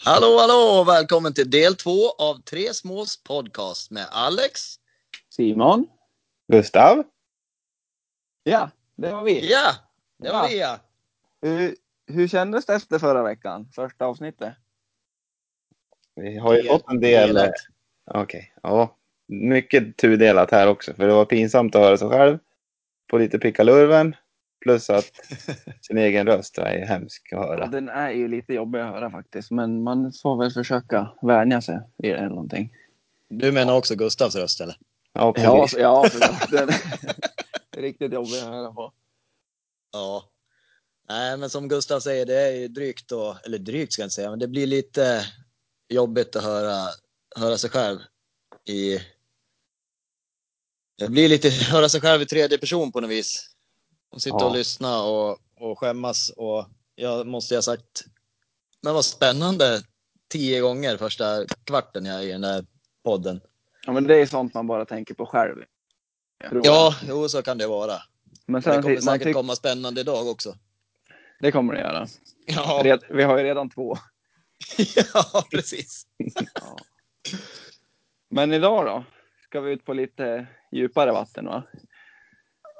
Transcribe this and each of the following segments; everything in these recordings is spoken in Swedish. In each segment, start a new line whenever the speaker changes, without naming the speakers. Hallå, hallå! Välkommen till del två av Tre Smås podcast med Alex.
Simon?
Gustav?
Ja, det var vi.
Ja, det var
Ja.
vi ja.
Hur, hur kändes det efter förra veckan? Första avsnittet?
Vi har ju
Del-
fått en del... eh,
delat.
Okej, ja. Mycket tudelat här också, för det var pinsamt att höra sig själv på lite pickalurven. Plus att sin egen röst är hemsk att höra.
Den är ju lite jobbig att höra faktiskt, men man får väl försöka vänja sig i det eller någonting.
Du menar också Gustavs röst eller?
Ja,
Ja,
precis.
så- ja förlåt. Den är riktigt jobbig att höra på.
Ja. Nej, men som Gustav säger, det är ju drygt då, eller drygt ska jag inte säga, men det blir lite jobbigt att höra, höra sig själv i... Det blir lite höra sig själv i tredje person på något vis. Och sitta
Ja.
och lyssna och, och skämmas och jag måste ju ha sagt, men vad spännande, tio gånger första kvarten jag är i den här podden.
Ja, men det är sånt man bara tänker på själv. Tror jag.
Ja, jo, så kan det vara.
men
Det
sen
kommer
det man
säkert
tyck-
komma spännande idag också.
Det kommer det göra.
Ja,
Red, vi har ju redan två.
ja precis.
Men idag då? Ska vi ut på lite djupare vatten va?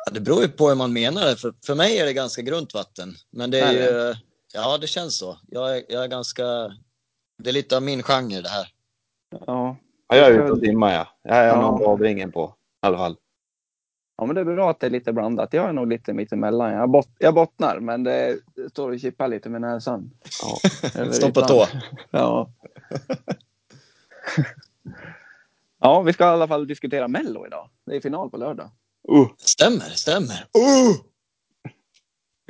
Ja, Det beror ju på hur man menar det. För, för mig är det ganska grunt vatten. Men det är
Är
ju... Ja, det känns så. Jag är, jag är ganska... Det är lite av min genre det här.
Ja.
Ja, jag är ute och simmar, ja. Jag har
Ja.
någon badringen på, i alla fall.
Ja, men det är bra att det är lite blandat. Jag är nog lite mittemellan. Jag, bot- jag bottnar, men det står och kippar lite med näsan.
Ja.
Eller
Stå på
ytan.
tå.
Ja. ja, vi ska i alla fall diskutera Mello idag. Det är final på lördag.
Uh.
Stämmer, stämmer. Oh!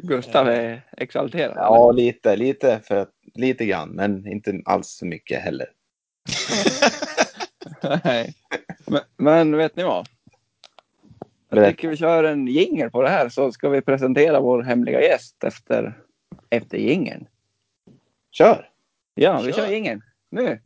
Gustav är exalterad.
ja, lite, lite, för att, lite grann, men inte alls så mycket heller.
Nej. men, men vet ni vad? Jag
Berätta.
tycker vi kör en jingel på det här så ska vi presentera vår hemliga gäst efter, efter jingeln.
Kör!
Ja, vi
Kör.
kör jingeln. Nu!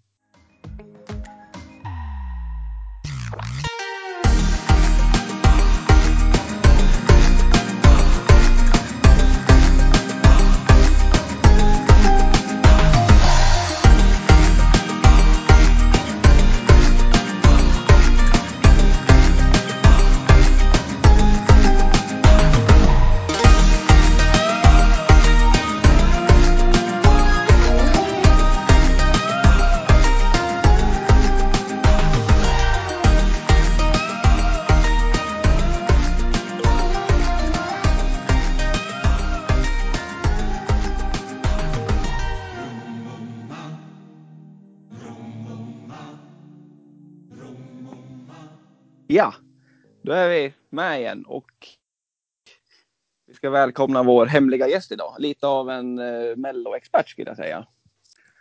Ja, då är vi med igen och vi ska välkomna vår hemliga gäst idag. Lite av en eh, Mello-expert skulle jag säga.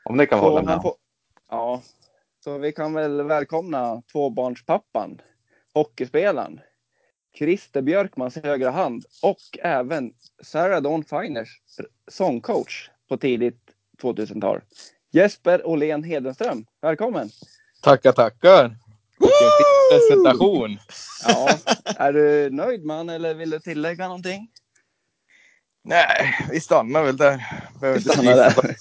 Om det kan
Så
hålla
han
med.
får- Ja, så vi kan väl välkomna tvåbarnspappan, hockeyspelaren, Christer Björkmans högra hand och även Sarah Dawn Finers sångcoach på tidigt 2000-tal. Jesper Åhlén Hedenström, välkommen!
Tackar, tackar. Vilken fin presentation.
Ja, är du nöjd man eller vill du tillägga någonting?
Nej, vi stannar väl där. Behöver
Vi
inte
stannar där.
visa på-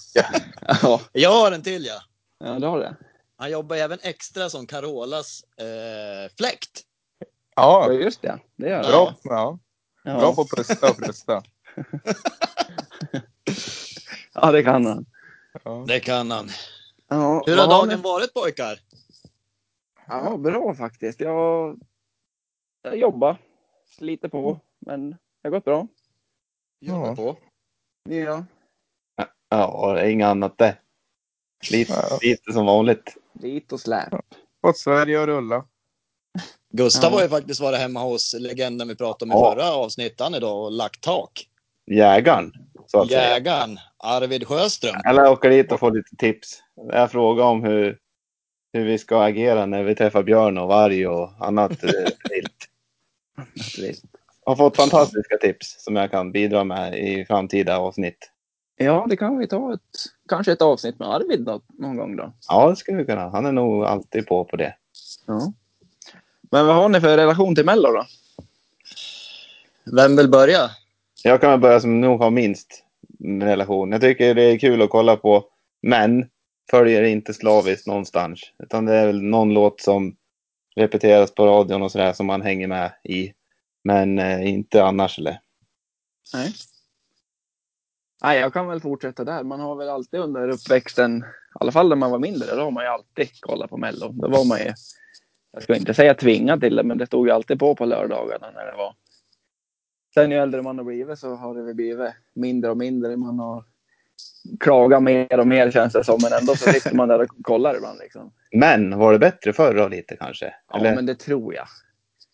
Ja,
Jag har en till ja.
ja du har det.
Han jobbar även extra som Carolas eh, fläkt.
Ja,
Ja,
just det. Det gör det.
bra. Ja,
Ja.
bra på att pusta och pusta.
Ja, det kan han.
Ja.
Det kan han.
Ja,
Hur har
vad
dagen
ni-
varit pojkar?
Ja, bra faktiskt. Jag, jag jobbar, sliter på, men det har gått bra.
Ja.
Jobbar på.
Ja.
Ja, det är inget annat det. Lite,
Ja.
lite som vanligt.
Slit och släp.
Fått Sverige att rulla.
Gustav
Ja.
har ju faktiskt varit hemma hos legenden vi pratade om i
Ja.
förra avsnittet han idag och lagt tak.
Jägaren, så att säga.
Jägaren Arvid Sjöström.
Eller åker dit och får lite tips. Jag frågar om hur, hur vi ska agera när vi träffar björn och varg och annat eh, vilt. Har fått fantastiska tips som jag kan bidra med i framtida avsnitt.
Ja, det kan vi ta ett, kanske ett avsnitt med Arvid nå- någon gång då.
Ja, det skulle vi kunna. Han är nog alltid på på det.
Ja. Men vad har ni för relation till Mello då?
Vem vill börja?
Jag kan väl börja som nog har minst relation. Jag tycker det är kul att kolla på, men följer inte slaviskt någonstans. Utan det är väl någon låt som repeteras på radion och sådär som man hänger med i. Men eh, inte annars eller?
Nej. Nej, jag kan väl fortsätta där. Man har väl alltid under uppväxten, i alla fall när man var mindre, då har man ju alltid kollat på Mello. Då var man ju, jag ska inte säga tvingad till det, men det stod ju alltid på på lördagarna när det var. Sen ju äldre man har blivit så har det väl blivit mindre och mindre. Man har klagat mer och mer känns det som, men ändå så sitter man där och kollar ibland. Liksom.
Men var det bättre förr då lite kanske?
Ja,
eller?
men det tror jag.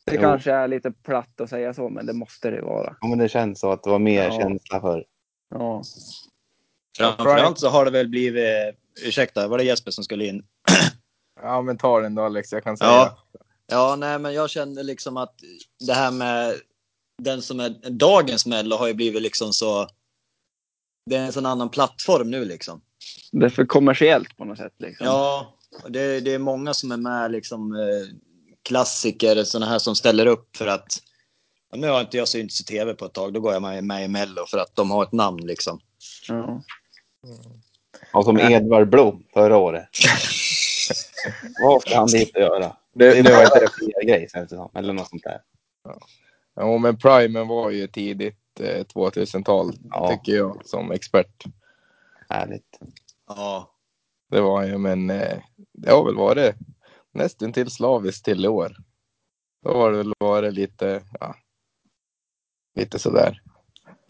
Det
Jo.
kanske är lite platt att säga så, men det måste det vara.
ja, men det känns så att det var mer
Ja.
känsla förr.
Ja.
Framförallt så har det väl blivit, ursäkta, var det Jesper som skulle in?
Ja, men ta den då Alex, jag kan säga.
Ja. Ja, nej, men jag kände liksom att det här med den som är dagens Mello har ju blivit liksom så. Det är en sån annan plattform nu liksom.
Det är för kommersiellt på något sätt. Liksom.
Ja, och det, det är många som är med liksom eh, klassiker, sådana här som ställer upp för att ja, nu har inte jag synts i tv på ett tag, då går jag med, med i Mello för att de har ett namn liksom.
Ja.
Och som Edvard Blom förra året. Vad ska han dit och göra?
Det,
Det
det
var
var,
inte en PR-grej känns det som. Eller något sånt där.
ja, men primen var ju tidigt eh, 2000-tal,
Ja.
tycker jag som expert.
Härligt.
Ja,
Det var ju, men eh, det har väl varit nästan till slaviskt till i år. Då har det väl varit lite, ja, lite sådär.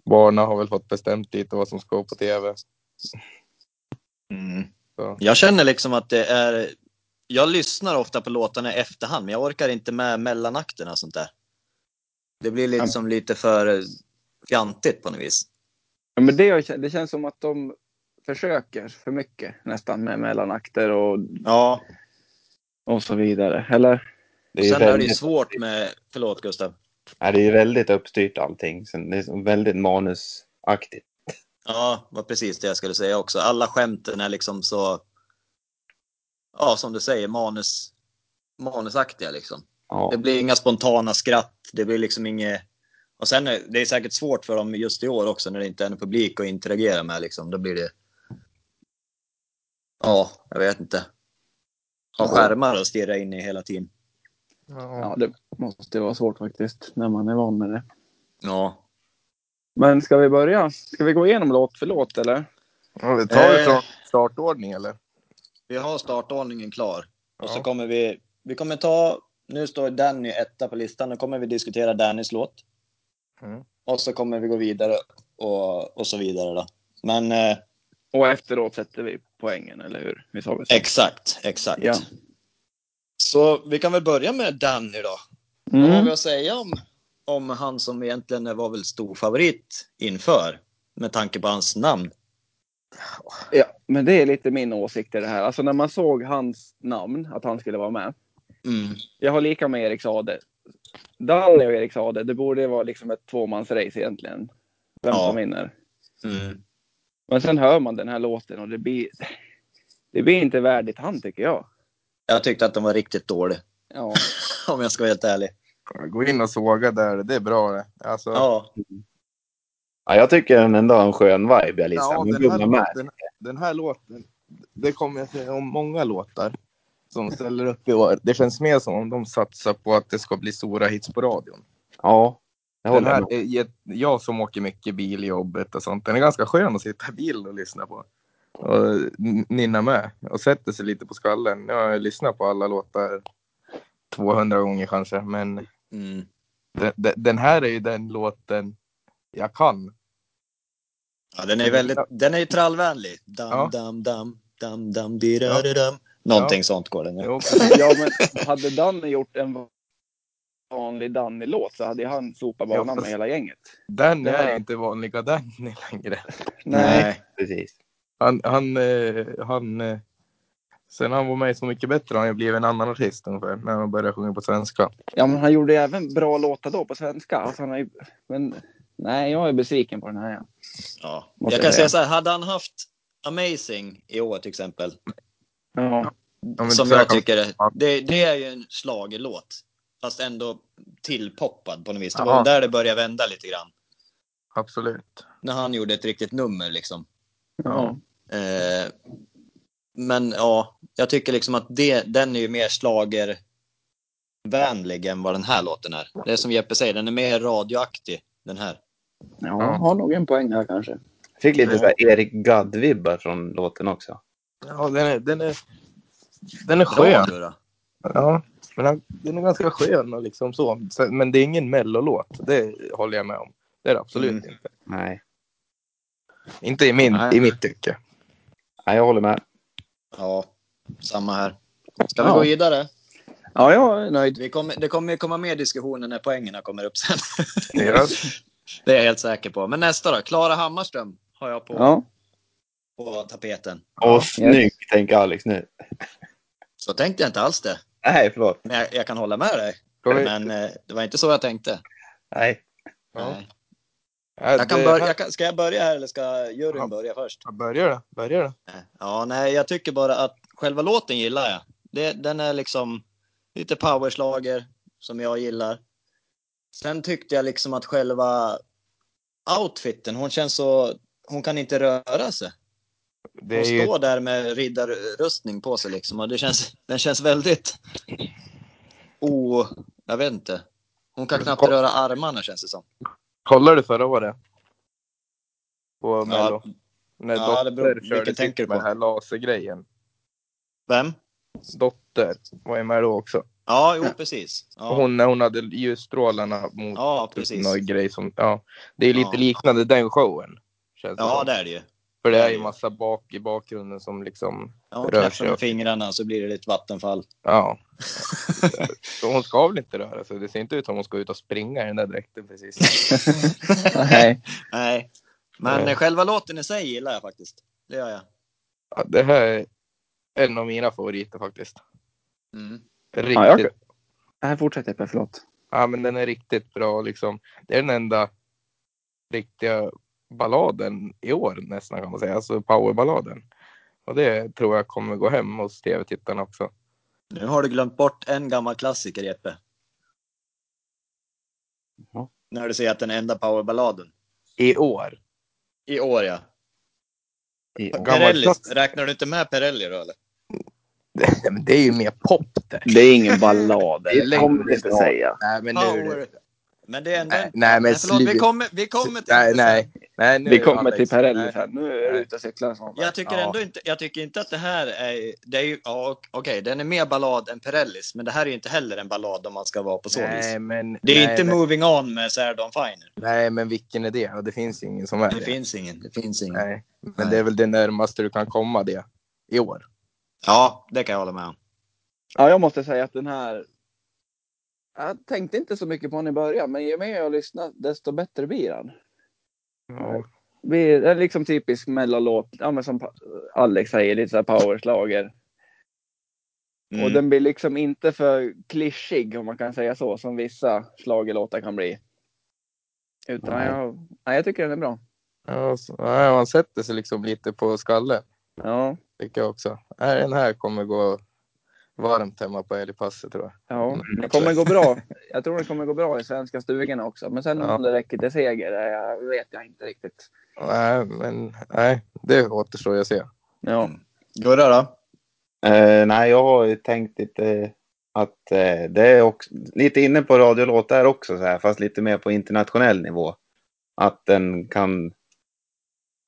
Barna har väl fått bestämt lite vad som ska gå på tv.
Mm.
Ja.
Jag känner liksom att det är... Jag lyssnar ofta på låtarna i efterhand, men jag orkar inte med mellanakterna och sånt där. Det blir liksom lite för fjantigt på något vis.
Ja, men det, det känns som att de försöker för mycket nästan med mellanakter och,
Ja,
och så vidare. Eller?
och
Det är, ju
sen är det ju
väldigt,
svårt med... Förlåt Gustav.
ja, det är ju väldigt uppstyrt allting. Så det är så väldigt manusaktigt.
Ja, var precis det jag skulle säga också. Alla skämten är liksom så... Ja, som du säger, manus, manusaktiga liksom.
Ja.
Det blir inga spontana skratt. Det blir liksom inget... Och sen är det är säkert svårt för dem just i år också när det inte är någon publik att interagera med. Liksom. Då blir det... Ja, jag vet inte. Ha skärmar att stirra in i hela tiden.
Ja, det måste vara svårt faktiskt när man är van med det.
Ja.
Men ska vi börja? Ska vi gå igenom låt för låt eller?
Ja, vi tar det
Eh.
från startordning eller?
Vi har startordningen klar. Och så
Ja.
kommer vi... Vi kommer ta... Nu står Danny etta på listan. Då kommer vi diskutera Dannys låt.
Mm.
Och så kommer vi gå vidare och, och så vidare då. Men eh,
Och efteråt sätter vi poängen, eller hur? Vi sa väl så?
exakt, exakt.
Ja.
Så vi kan väl börja med Danny då. Vad har vi
Mm.
att säga om, om han som egentligen var väl stor favorit inför? Med tanke på hans namn.
ja, men det är lite min åsikt i det här. Alltså när man såg hans namn, att han skulle vara med.
Mm.
Jag har lika med Erik Sade. Danny och Erik Sade, det borde vara liksom ett tvåmansrace egentligen. Vem
Ja.
som vinner.
Mm.
Men sen hör man den här låten och det blir, det blir inte värdigt han tycker jag.
Jag tyckte att den var riktigt dålig,
Ja,
om jag ska vara helt ärlig.
Gå in och såga där, det är bra det. Alltså,
Ja,
Ja, jag tycker den ändå har en skön vibe, jag listan. Den
den, här
gungar med.
låten, den här låten, det kommer jag säga om många låtar som ställer upp i år. Det känns mer som om de satsar på att det ska bli stora hits på radion.
Ja, jag
Den
håller
här
med.
är, jätt- jag som åker mycket bil i jobbet och sånt, den är ganska skön att sitta i bilen och lyssna på. Och n- nynna med och sätter sig lite på skallen. Nu har jag lyssnat på alla låtar 200 gånger kanske, men
mm.
den, den- den här är ju den låten jag kan.
ja den är väldigt, den är ju trallvänlig. Dam,
Ja.
dam, dam, dam, dam, dam. Någonting sånt går den. Ja.
Jo,
ja men hade Danny gjort en vanlig Danny-låt så hade han sopat
Ja,
banan
fast-
med hela gänget.
den
Det
är
här-
inte vanliga Danny längre.
Nej.
Precis.
Han, han, eh, han, eh, sen han var med Så mycket bättre har han ju blivit en annan artist ungefär, när han började sjunga på svenska.
Ja, men han gjorde ju även bra låtar då på svenska. Alltså, han har ju, men nej, jag är besviken på den här. Ja.
Ja.
Måste
Jag kan
jag
säga
säga.
så här, hade han haft Amazing i år till exempel,
Ja.
Ja, men
som
så här
jag
kan-
tycker,
Ja.
det, det är ju en schlagerlåt. Fast ändå tillpoppad på något vis. Det
Jaha.
var där det började vända lite grann.
Absolut.
när han gjorde ett riktigt nummer liksom.
Ja.
Eh, men ja, jag tycker liksom att det, den är ju mer slagervänlig än vad den här låten är. Det är som Jeppe säger, den är mer radioaktig, den här.
Ja, har nog en poäng här kanske.
Fick lite så här Erik Gadd-vibbar från låten också.
Ja, den är, den är, den är skön.
Radio då.
Ja, men han, den är ganska skön och liksom så. Sen- Men det är ingen mellolåt, det håller jag med om. Det är det absolut
Mm.
inte.
Nej,
Inte i, min,
Nej.
i mitt tycke.
Nej jag håller med.
Ja, samma här. Ska vi
Ja.
gå vidare?
Ja, jag är nöjd.
Vi kommer, det kommer ju komma mer diskussioner när poängerna kommer upp sen.
Ja.
Det är jag helt säker på. Men nästa då, Klara Hammarström har jag på,
Ja,
på tapeten.
Och snygg, tänker Alex nu.
Så tänkte jag inte alls det.
Nej, förlåt.
Men jag, jag kan hålla med dig.
Ska vi-
Men eh, det var inte så jag tänkte.
Nej.
Ja.
Nej.
Ja,
Jag kan
det-
börja, jag kan, ska jag börja här eller ska
Ja.
juryn börja först?
Ja, Börja då. Börja då.
Ja, nej, jag tycker bara att själva låten gillar jag. Det, den är liksom lite powerslager som jag gillar. Sen tyckte jag liksom att själva outfiten, hon känns så, hon kan inte röra sig.
Det
Hon
är ju,
står där med riddarrustning på sig liksom och det känns, den känns väldigt, oh, jag vet inte. Hon kan knappt röra armarna känns det som.
kollade du förra året? På Mello?
Ja,
När
ja, det beror-
Dotter körde
vilken
sitt
tänker du
med
på?
den här lasergrejen.
vem?
Dotter var ju med då också.
Ja, jo precis.
Och
Ja,
Hon när hon hade ljusstrålarna mot
ja precis.
någon grej som, ja. Det är ju lite
Ja.
liknande den showen. Känns det
Ja,
som.
det är det ju.
För det
det
är
är
ju
det.
massa bak i bakgrunden som liksom,
Ja, hon
Rör
knäpper
sig
med
upp.
fingrarna så blir det lite vattenfall.
ja. Så hon ska väl inte röra sig. Det ser inte ut som hon ska ut och springa i den där dräkten precis.
nej.
Nej, men
Nej.
eh, själva låten i sig gillar jag faktiskt. Det gör jag.
Ja, det här är en av mina favoriter faktiskt.
Mm.
Riktigt.
Ja, jag- Nej, fortsätt Jeppe, förlåt.
Ja, men den är riktigt bra liksom. Det är den enda riktiga balladen i år nästan kan man säga, alltså powerballaden. Och det tror jag kommer gå hem hos tv-tittarna också.
Nu har du glömt bort en gammal klassiker, Jeppe.
Ja.
När du säger att den enda powerballaden.
I år.
I år, ja.
I år.
Gammal
Perelli,
klass-
räknar du inte med Perelli då, eller?
Det, men det är ju mer pop det.
Det är ingen ballad.
Det är längre
kommer vi inte
snart.
säga.
Nej men nu är det...
Power. Men det är ändå...
Nej, nej men
Nej, förlåt, vi
slut.
kommer, vi kommer till
Nej, nej. nej nu,
Vi kommer
Alex.
till Perrelli
Nej.
sen. Nu är du ute och cyklar. Svanberg.
Jag tycker
Ja.
ändå inte, jag tycker inte att det här är, det är ju, ja, och- okej, den är mer ballad än Perellis, men det här är ju inte heller en ballad om man ska vara på så vis.
Nej men,
Det är
nej,
inte
men,
Moving On med Sardon Finer.
nej men vilken är det? Och Det finns ju ingen som är
Det
det.
finns ingen. Det finns ingen.
Nej. Men
Nej.
det är väl det närmaste du kan komma det i år.
Ja, det kan jag hålla med om.
Ja, jag måste säga att den här... Jag tänkte inte så mycket på den i början, men ju mer jag lyssnar, desto bättre blir den.
Ja.
Blir, det är liksom typisk mellanlåt, ja, men som Pa- Alex säger, lite så här powerslager.
Mm.
Och den blir liksom inte för klyschig, om man kan säga så, som vissa slagelåtar kan bli. Utan
Nej.
jag, nej, jag tycker den är bra.
Ja, så, nej, man sätter sig liksom lite på skallen.
Ja,
Tycker jag också. Nej, den här kommer gå varmt hemma på älgpasset tror jag.
ja. Det
jag
kommer
tror
gå bra. Jag tror det kommer gå bra i svenska stugorna också. Men sen
Ja.
om det räcker till seger, det jag vet jag inte riktigt.
Nej, men nej, det återstår jag att se.
Ja,
Gurra då?
Eh, nej, jag har ju tänkt lite att eh, det är också, lite inne på radiolåt där också, så här, fast lite mer på internationell nivå. Att den kan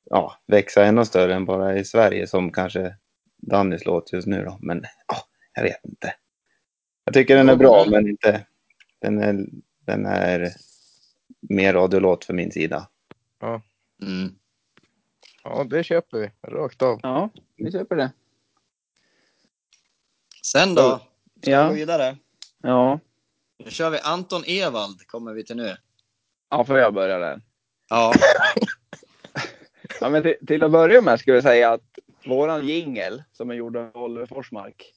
ja, växa ännu större än bara i Sverige, som kanske Dannys låt just nu då. Men ja, jag vet inte. Jag tycker den är bra, men inte... Den är, den är mer radiolåt för min sida.
Mm.
Ja, det köper vi rakt av.
ja vi köper det.
Sen då? Ska vi
Ja.
gå vidare?
Ja.
Nu kör vi Anton Ewald, kommer vi till nu.
ja, får jag börja där?
Ja,
Ja, men till, till att börja med ska vi säga att våran jingel som är gjord av Oliver Forsmark.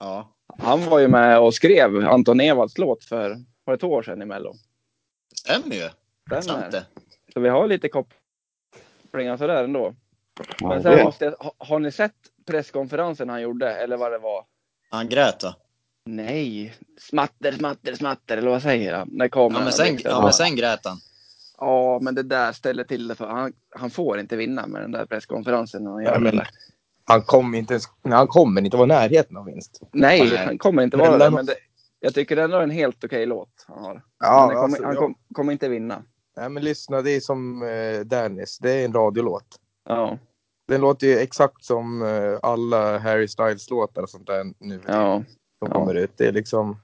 ja.
Han var ju med och skrev Anton Ewalds låt för var det två år sedan i Mello.
stämmer ju.
Den
Sant
är-
det.
Så vi har lite kopplingar sådär ändå. Men
Ja, det-
sen måste jag, ha- har ni sett presskonferensen han gjorde eller vad det var?
Han grät då.
Nej, smatter, smatter, smatter eller vad säger han? När kameran
Ja, men sen,
liksom-
ja, men sen grät han.
Ja, men det där ställer till det för han, han får inte vinna med den där presskonferensen han gör.
Nej, men-
eller?
Han kommer inte, ens- nej, han kommer inte vara i närheten av vinst.
Nej,
Nej.
han kommer inte
Men
vara det.
den-
Men det, jag tycker ändå det är en helt okej låt han har.
Ja,
Men han kommer,
alltså,
han
ja.
kom, kommer inte vinna.
Nej, men lyssna, det är som eh, Dennis. Det är en radiolåt.
Ja,
Den låter ju exakt som eh, alla Harry Styles-låtar och sånt där nu för tiden
ja.
som
ja.
kommer ut. Det är liksom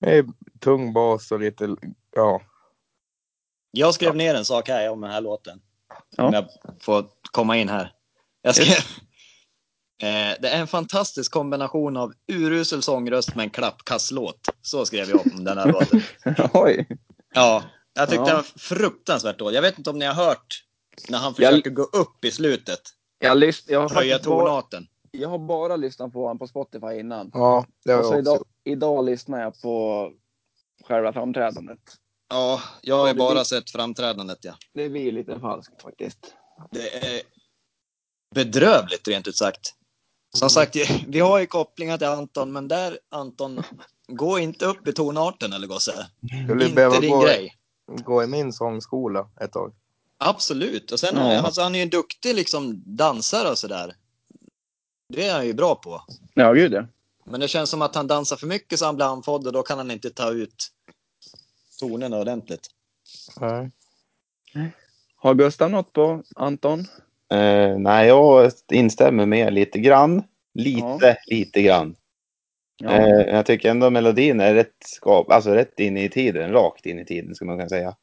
det är tung bas och lite, ja.
Jag skrev ner en sak här om den här låten.
Ja.
Om jag får komma in här. Jag skrev... Eh, det är en fantastisk kombination av urusel sångröst med en klappkasslåt. Så skrev jag om den här låten.
Oj.
Ja, jag tyckte
Ja.
den var fruktansvärt dålig. Jag vet inte om ni har hört när han
Jag-
försöker gå upp i slutet.
Jag, lyssn- jag, har
Höja
faktiskt bara,
tonarten.
jag har bara lyssnat på honom på Spotify innan.
Ja, det har
Och så
jag också.
idag, idag lyssnar jag på själva framträdandet.
Ja, jag har ju
Ja, det
bara
blir-
sett framträdandet. Ja.
Det blir lite falskt faktiskt.
Det är bedrövligt rent ut sagt.
Mm.
Som sagt, vi har ju kopplingar till Anton, men där Anton, gå inte upp i tonarten eller gosse.
Skulle
Inte
behöva
din
gå,
grej.
gå i min sångskola ett tag.
Absolut. Och sen,
Ja.
alltså, han är ju en duktig liksom, dansare och sådär. Det är han ju bra på.
Ja, gud ja.
Men det känns som att han dansar för mycket så han blir andfådd och då kan han inte ta ut tonerna ordentligt.
Nej.
Har Gustav något på Anton?
Eh, nej, jag instämmer med lite grann. Lite, lite grann.
Ja.
Eh, jag tycker ändå melodin är rätt, skap, alltså rätt in i tiden, rakt in i tiden skulle man kunna säga.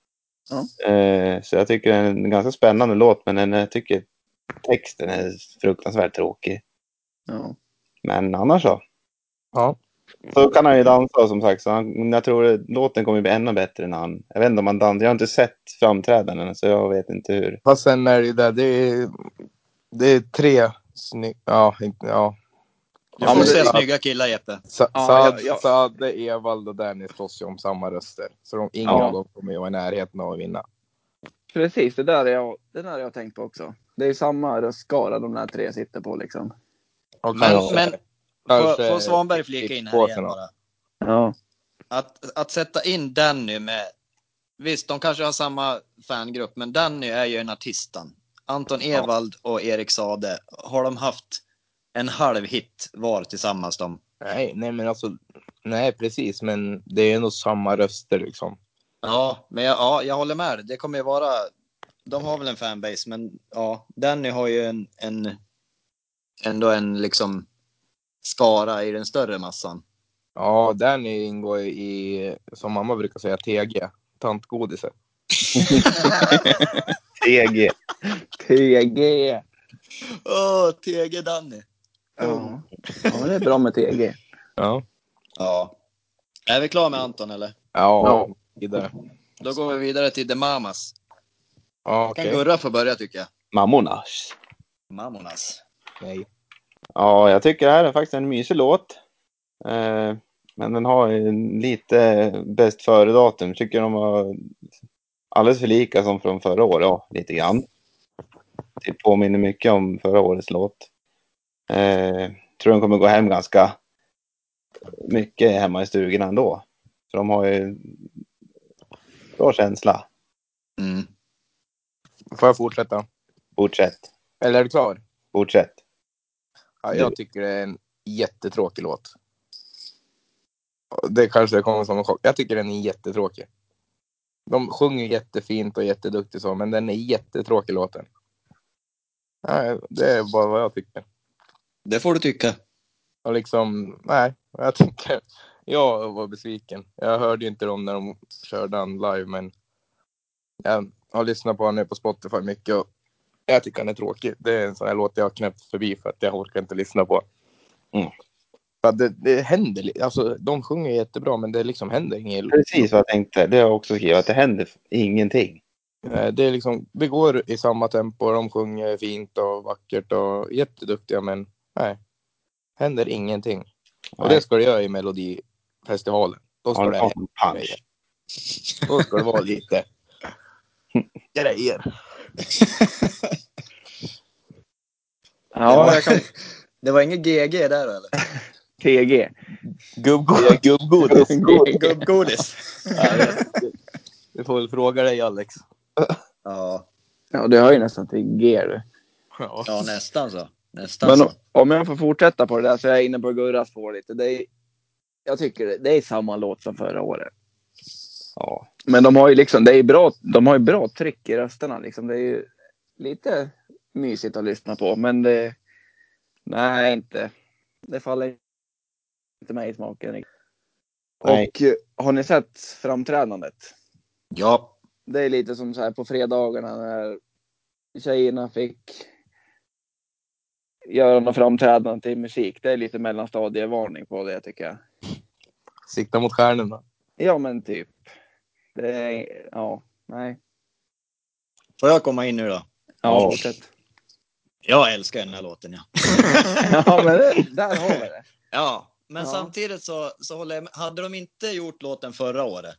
Ja.
Eh, så jag tycker det är en ganska spännande låt, men den, jag tycker texten är fruktansvärt tråkig.
ja.
Men annars så.
Ja.
Så kan han ju dansa som sagt, så han, jag tror att låten kommer bli ännu bättre när han... Jag vet inte om han dansar, jag har inte sett framträdanden så jag vet inte hur.
Fast sen är det ju där, det är, det är tre snygga, ja, inte, ja.
Du
Ja,
får
men
se
det-
snygga killar Jeppe.
Sa-
Ja,
Saad,
ja, ja.
Saad, Evald och Dennis slåss ju om samma röster. Så de, ingen
Ja.
av dem kommer ju vara i närheten av att vinna.
Precis, det där är jag, det där har jag tänkt på också. Det är samma röstskala de där tre sitter på liksom.
Och
Men,
kanske-
men
kanske-
får, får Svanberg flika in här igen
Påsen
bara?
Ja.
Att, att sätta in Danny med... Visst, de kanske har samma fangrupp, men Danny är ju en artistan. Anton Ewald och Erik Sade har de haft en halv hit var tillsammans. De.
Nej, nej men alltså, nej precis, men det är nog samma röster liksom.
Ja, men jag, ja, jag håller med. Det kommer ju vara... De har väl en fanbase, men ja, Danny har ju en, en, ändå en liksom skara i den större massan.
Ja, Danny ingår ju i, som mamma brukar säga, TG, tantgodiset.
TG.
TG. Ja.
Åh, TG Danny!
ja, men det är bra med TG.
Ja.
Ja. Är vi klara med Anton eller?
Ja, vidare.
Då går vi vidare till The Mamas.
Ja,
Kan
okej.
Gurra få börja tycker jag.
Mammonas.
Mamonas.
Nej.
Ja, jag tycker det här är faktiskt en mysig låt. Eh, men den har ju en lite bäst före-datum. Tycker de var alldeles för lika som från förra året, ja, lite grann. Det påminner mycket om förra årets låt. Eh, tror de kommer gå hem ganska mycket hemma i stugorna ändå. För de har ju bra känsla.
Mm.
Får jag fortsätta?
Fortsätt,
Eller är du klar?
fortsätt.
Ja, jag tycker det är en jättetråkig låt. Det kanske kommer som en chock. Jag tycker den är jättetråkig. De sjunger jättefint och jätteduktigt så, men den är jättetråkig låten. Nej, det är bara vad jag tycker.
Det får du tycka.
Och liksom, nej, jag tycker, jag var besviken. Jag hörde ju inte dem när de körde han live, men jag har lyssnat på honom nu på Spotify mycket och jag tycker han är tråkig. Det är en sån här låt jag har knäppt förbi för att jag orkar inte lyssna på.
Mm.
För att det, det händer, li- alltså de sjunger jättebra, men det liksom händer inget.
Precis vad jag tänkte. Det har jag också skrivit, att det händer ingenting.
Eh, Det är liksom, vi går i samma tempo, de sjunger fint och vackert och jätteduktiga, men nej, händer ingenting. Och det ska du göra i Melodifestivalen. Då ska
Har
det
de fått en punch?
Då ska det vara lite grejer.
Ja, jag kan...
Det var ingen GG där eller?
TG.
Gubbgodis. Gubbgodis.
Gubbgodis.
Vi får väl fråga dig Alex.
ja,
Ja, du hör ju nästan till G du.
Ja.
ja, nästan så. Nästan
Men
så.
om- om jag får fortsätta på det där så är jag inne på Gurras spår lite. Det är, jag tycker det, det är samma låt som förra året.
Ja.
Men de har ju liksom, det är bra, de har ju bra tryck i rösterna liksom. Det är ju lite mysigt att lyssna på, men det, nej inte. Det faller inte mig i smaken. riktigt.
Nej.
Och eh, har ni sett framträdandet?
Ja.
Det är lite som så här på fredagarna när tjejerna fick göra något framträdande till musik. Det är lite mellanstadievarning på det tycker jag.
Sikta mot stjärnorna.
Ja men typ. Det är, ja, nej.
Får jag komma in nu då?
Ja,
Ja.
fortsätt.
Jag älskar den här låten ja.
Ja men det, där har vi det.
Ja, men
Ja.
samtidigt så, så håller jag med. Hade de inte gjort låten förra året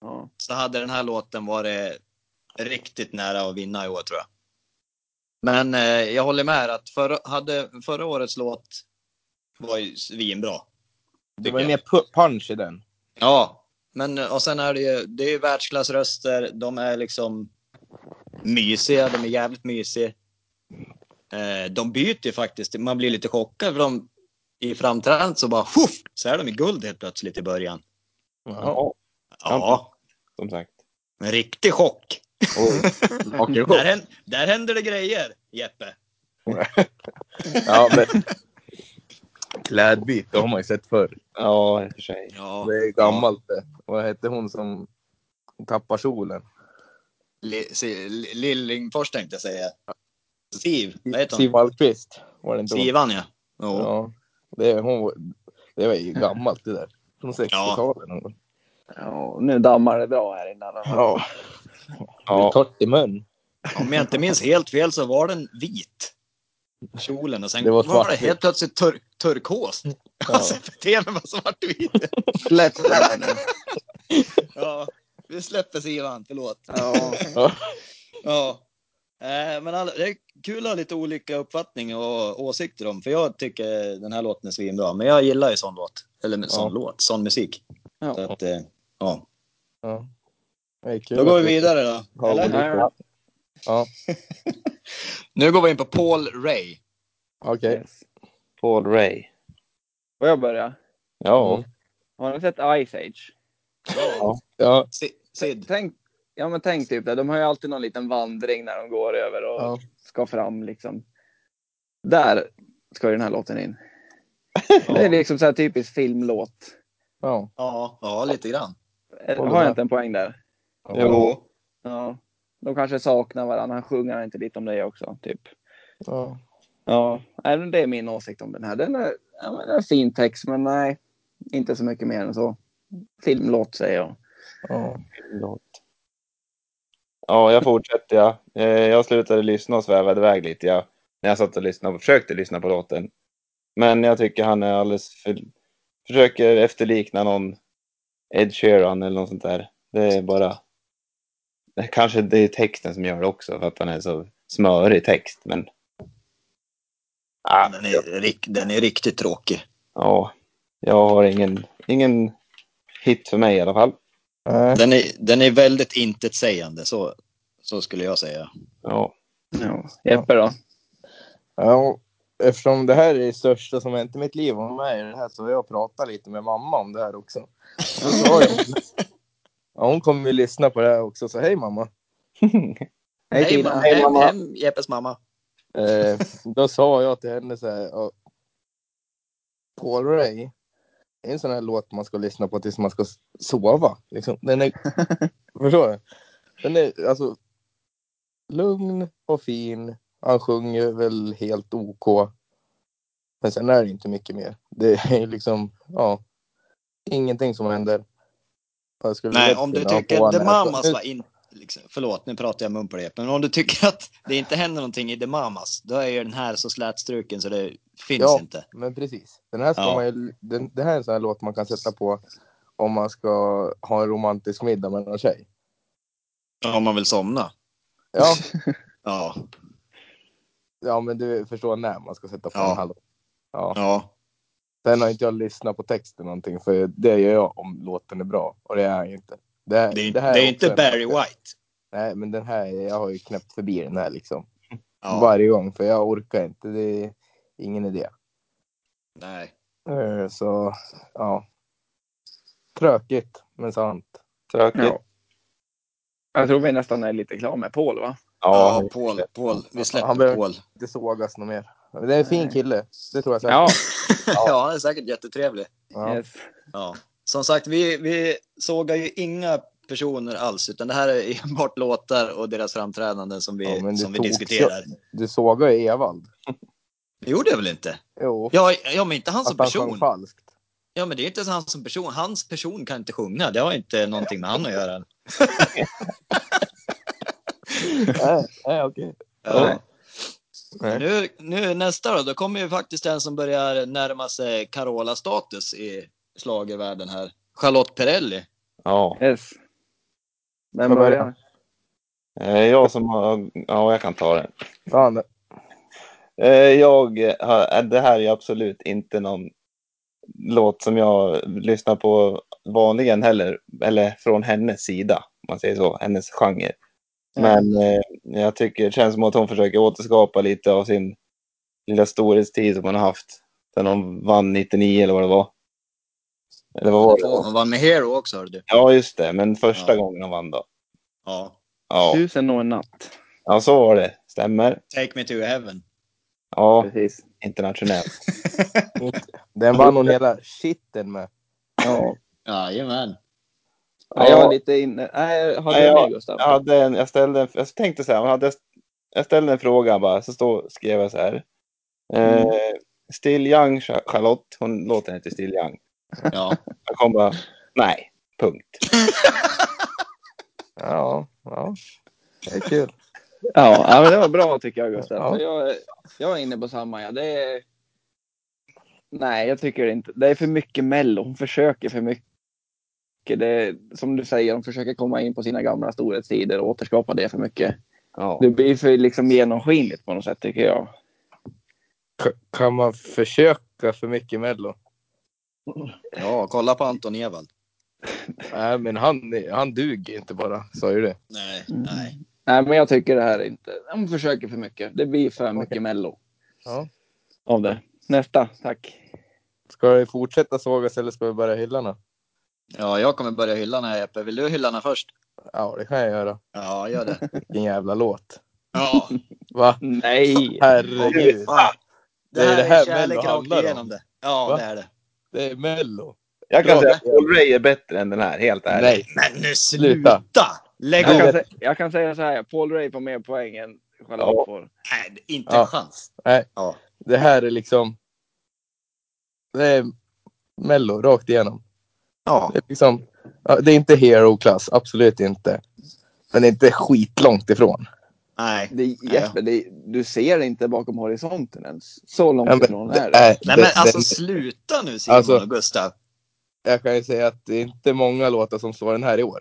Ja.
så hade den här låten varit riktigt nära att vinna i år tror jag. Men eh, jag håller med er att förra, hade, förra årets låt var ju svinbra.
Det
tycker
var ju
jag.
mer pu- punch i den.
Ja, men och sen är det ju, det är ju världsklassröster. De är liksom mysiga, de är jävligt mysiga. Eh, de byter ju faktiskt, man blir lite chockad för de i framträdandet så bara Huff! så är de i guld helt plötsligt i början.
Ja.
Ja,
Ja,
som sagt.
en riktig chock.
Oj.
Okej,
Där, hän- där händer det grejer, Jeppe.
ja, men... Klädbyte har man ju sett förr.
Ja, i och för sig.
Ja,
Det är gammalt det. Vad hette hon som tappar solen?
li, si, li, Lillingfors tänkte jag säga. Siv, vad heter
Siw
hon?
Wallqvist var det inte hon?
Sivan ja. Jo.
Ja, det, är- hon, var- det var ju gammalt det där. Från 60-talet. någon gång.
Ja, nu dammar det bra här innan.
Ja.
Ja.
Ja. Torrt i mun.
Om jag inte minns helt fel så var den vit. Kjolen och sen
Det
var,
var
det
svartvitt.
helt plötsligt tur turkost. Alltså tvn var svartvit.
Släpp det där nu.
Ja, vi släpper Sivan, förlåt.
Ja.
Ja. Eh, Men alla, det är kul att ha lite olika uppfattningar och åsikter om, för jag tycker den här låten är svinbra. Men jag gillar ju sån låt, eller sån låt, sån musik.
Ja.
Så att, eh, ja.
Ja. Det är kul
Då går
att
vi vidare då.
har
Eller?
olika-
Ja.
Ja,
Nu går vi in på Paul Ray.
okej.
Paul Ray.
Får jag börja?
Ja.
Mm.
Har ni sett Ice Age?
Ja.
Si- Sid.
Tänk, ja, men tänk typ det. De har ju alltid någon liten vandring när de går över och
Ja.
ska fram liksom. Där ska ju den här låten in. Det är liksom så här typisk filmlåt.
ja.
Ja, ja, lite grann.
Eller,
Håller
Har jag
med.
inte en poäng där?
ja.
Ja. De kanske saknar varandra. Han sjunger inte lite om det också, typ.
ja.
Ja, nej, men det är min åsikt om den här. Den är, ja, men det är en fin text, men nej, inte så mycket mer än så. Filmlåt säger jag.
ja.
Låt. Ja, jag fortsätter. Ja. Eh, Jag slutade lyssna och svävade iväg lite. Ja. När jag satt och lyssnade och försökte lyssna på låten. Men jag tycker han är alldeles för... Försöker efterlikna någon Ed Sheeran eller något sånt där. Det är bara... Det Kanske det är texten som gör det också för att han är så smörig text. Men... Ah,
Den är, rik- den är riktigt tråkig.
ja, jag har ingen, ingen hit för mig i alla fall.
Nej.
Den är, den är väldigt intetsägande, så, så skulle jag säga.
Ja,
Ja. Jeppe då?
Ja, eftersom det här är det största som hänt i mitt liv och med i det här så har jag pratat lite med mamma om det här också. Så sa jag, ja, hon kommer ju lyssna på det här också, så hej mamma.
Hej
Hej,
Tina!
mamma.
Hej
Hem,
mamma!
hem, Jeppes mamma.
Eh, då sa jag till henne så här, ja, Paul Ray, det är en sån här låt man ska lyssna på tills man ska s- sova. Liksom. Den är, förstår du? Den är alltså lugn och fin. Han sjunger väl helt OK. Men sen är det inte mycket mer. Det är liksom, ja, ingenting som händer. Jag skulle
Nej,
lätt
om du
kunna ha
tycker
på
att The
henne att-
Mamas var in... Liksom, förlåt, nu pratar jag mun på det. Men om du tycker att det inte händer någonting i The Mamas, då är ju den här så slätstruken så det finns
Ja.
inte.
Men precis. Den här ska
Ja.
man ju, den, det här är en sån här låt man kan sätta på om man ska ha en romantisk middag med någon tjej.
Om man vill somna.
Ja,
Ja,
ja men du förstår när man ska sätta på
Ja.
den här låten. Ja.
ja.
Sen har inte jag lyssnat på texten någonting för det gör jag om låten är bra och det är jag ju inte. Det, här-
Det är, det
det här
är inte
också en-
Barry White.
Nej, men den här, jag har ju knäppt förbi den här liksom.
Ja.
Varje gång för jag orkar inte. Det, Ingen idé.
Nej.
Eh, Så ja. Tråkigt men sant.
Tråkigt.
Ja. Jag tror vi nästan är lite klara med Paul, va?
Ja,
Ja,
Paul, Paul. Vi släpper
Han behöver-
Paul.
Inte sågas något mer. Men Det är en fin
Nej.
kille. Det tror jag säkert.
Ja.
ja, han är säkert jättetrevlig.
Ja.
Yes.
Ja. Som sagt, vi, vi sågar ju inga personer alls, utan det här är enbart låtar och deras framträdanden som vi,
Ja, men du
som vi
tog-
diskuterar.
Du sågar ju Evald.
Det gjorde jag väl inte?
Jo.
Ja, ja, men inte han som
Att han sjöng
person.
falskt.
Ja, men det är inte ens han som person. Hans person kan inte sjunga. Det har inte någonting med han att göra.
Nej, nej, okej.
Ja.
Nej.
Nu, nu nästa då, då kommer ju faktiskt en som börjar närma sig Carola-status i schlagervärlden här. Charlotte Perrelli.
ja.
Yes. Vem
Jag börjar.
börjar?
Eh, Jag som har... Ja, jag kan ta den.
Fan,
Eh, Jag har, eh, det här är absolut inte någon låt som jag lyssnar på vanligen heller, eller från hennes sida, om man säger så, hennes genre. Men eh, jag tycker det känns som att hon försöker återskapa lite av sin lilla storhetstid som hon har haft sen hon vann 99 eller vad det var. Eller vad var det?
Hon var med Hero också, hörde du.
Ja, just det, men första
Ja.
gången hon vann då.
Ja.
Ja.
Tusen och en natt.
ja, så var det. Stämmer.
Take me to heaven.
Ja,
Precis.
internationellt.
Den vann hon hela shitten med.
Ja.
Jajamän.
Ja, jag var lite inne. Nej, har
Nej,
du
jag-
med Gustav?
jag, hade en, jag, ställde en, jag tänkte så här, jag, hade, jag ställde en fråga bara, så stå, skrev jag så här. Eh,
Mm.
Still Young Cha- Charlotte, hon låter inte Still Young.
Ja.
Jag kom bara, nej, punkt.
Ja, ja. Det är kul.
Ja, ja, men det var bra tycker jag Gustav.
Ja.
För Jag, jag är inne på samma. Ja. Det är... Nej, jag tycker det inte. Det är för mycket Mello. Hon försöker för mycket. Det är, som du säger, hon försöker komma in på sina gamla storhetstider och återskapa det för mycket.
Ja.
Det blir för liksom genomskinligt på något sätt tycker jag.
K- kan man försöka för mycket Mello?
ja, kolla på Anton Ewald.
Nej, men han, han duger inte bara. Sa ju det.
Nej,
Mm.
nej.
Nej, men jag tycker det här är inte... Hon försöker för mycket. Det blir för mycket Mello.
Ja.
Av det. Nästa, tack.
Ska vi fortsätta sågas eller ska vi börja hylla henne?
Ja, jag kommer börja hylla den här Jeppe. Vill du hylla den här först?
Ja, det kan jag göra.
Ja, gör det.
Vilken jävla låt.
Ja,
Va?
Nej!
Herregud.
fan. Det
Det är
här
det
är,
här Mello
kärlek rakt
handlar om.
igenom det. Ja,
Va?
det är det.
Det är Mello.
Jag kan
Bra.
säga att Paul Ray är bättre än den här, helt ärligt.
Nej.
Men nu
Sluta.
Lägg
Jag
av!
kan, sä- jag kan säga så här, Paul Ray får mer poäng än Charlotte
Ja.
får.
Nej, inte
Ja.
en chans.
Nej.
Ja.
Det här är liksom... Det är Mello rakt igenom.
Ja.
Det är, liksom, ja, det är inte hero-klass, absolut inte. Men det är inte skitlångt ifrån.
Nej.
Det, är Jeppe, det, är- du ser inte bakom horisonten ens. Så långt
Ja, men
ifrån
det
är det.
Nej men
det-
alltså
det-
sluta nu Simon
Alltså-
och Gustav.
jag kan ju säga att det är inte många låtar som slår den här i år.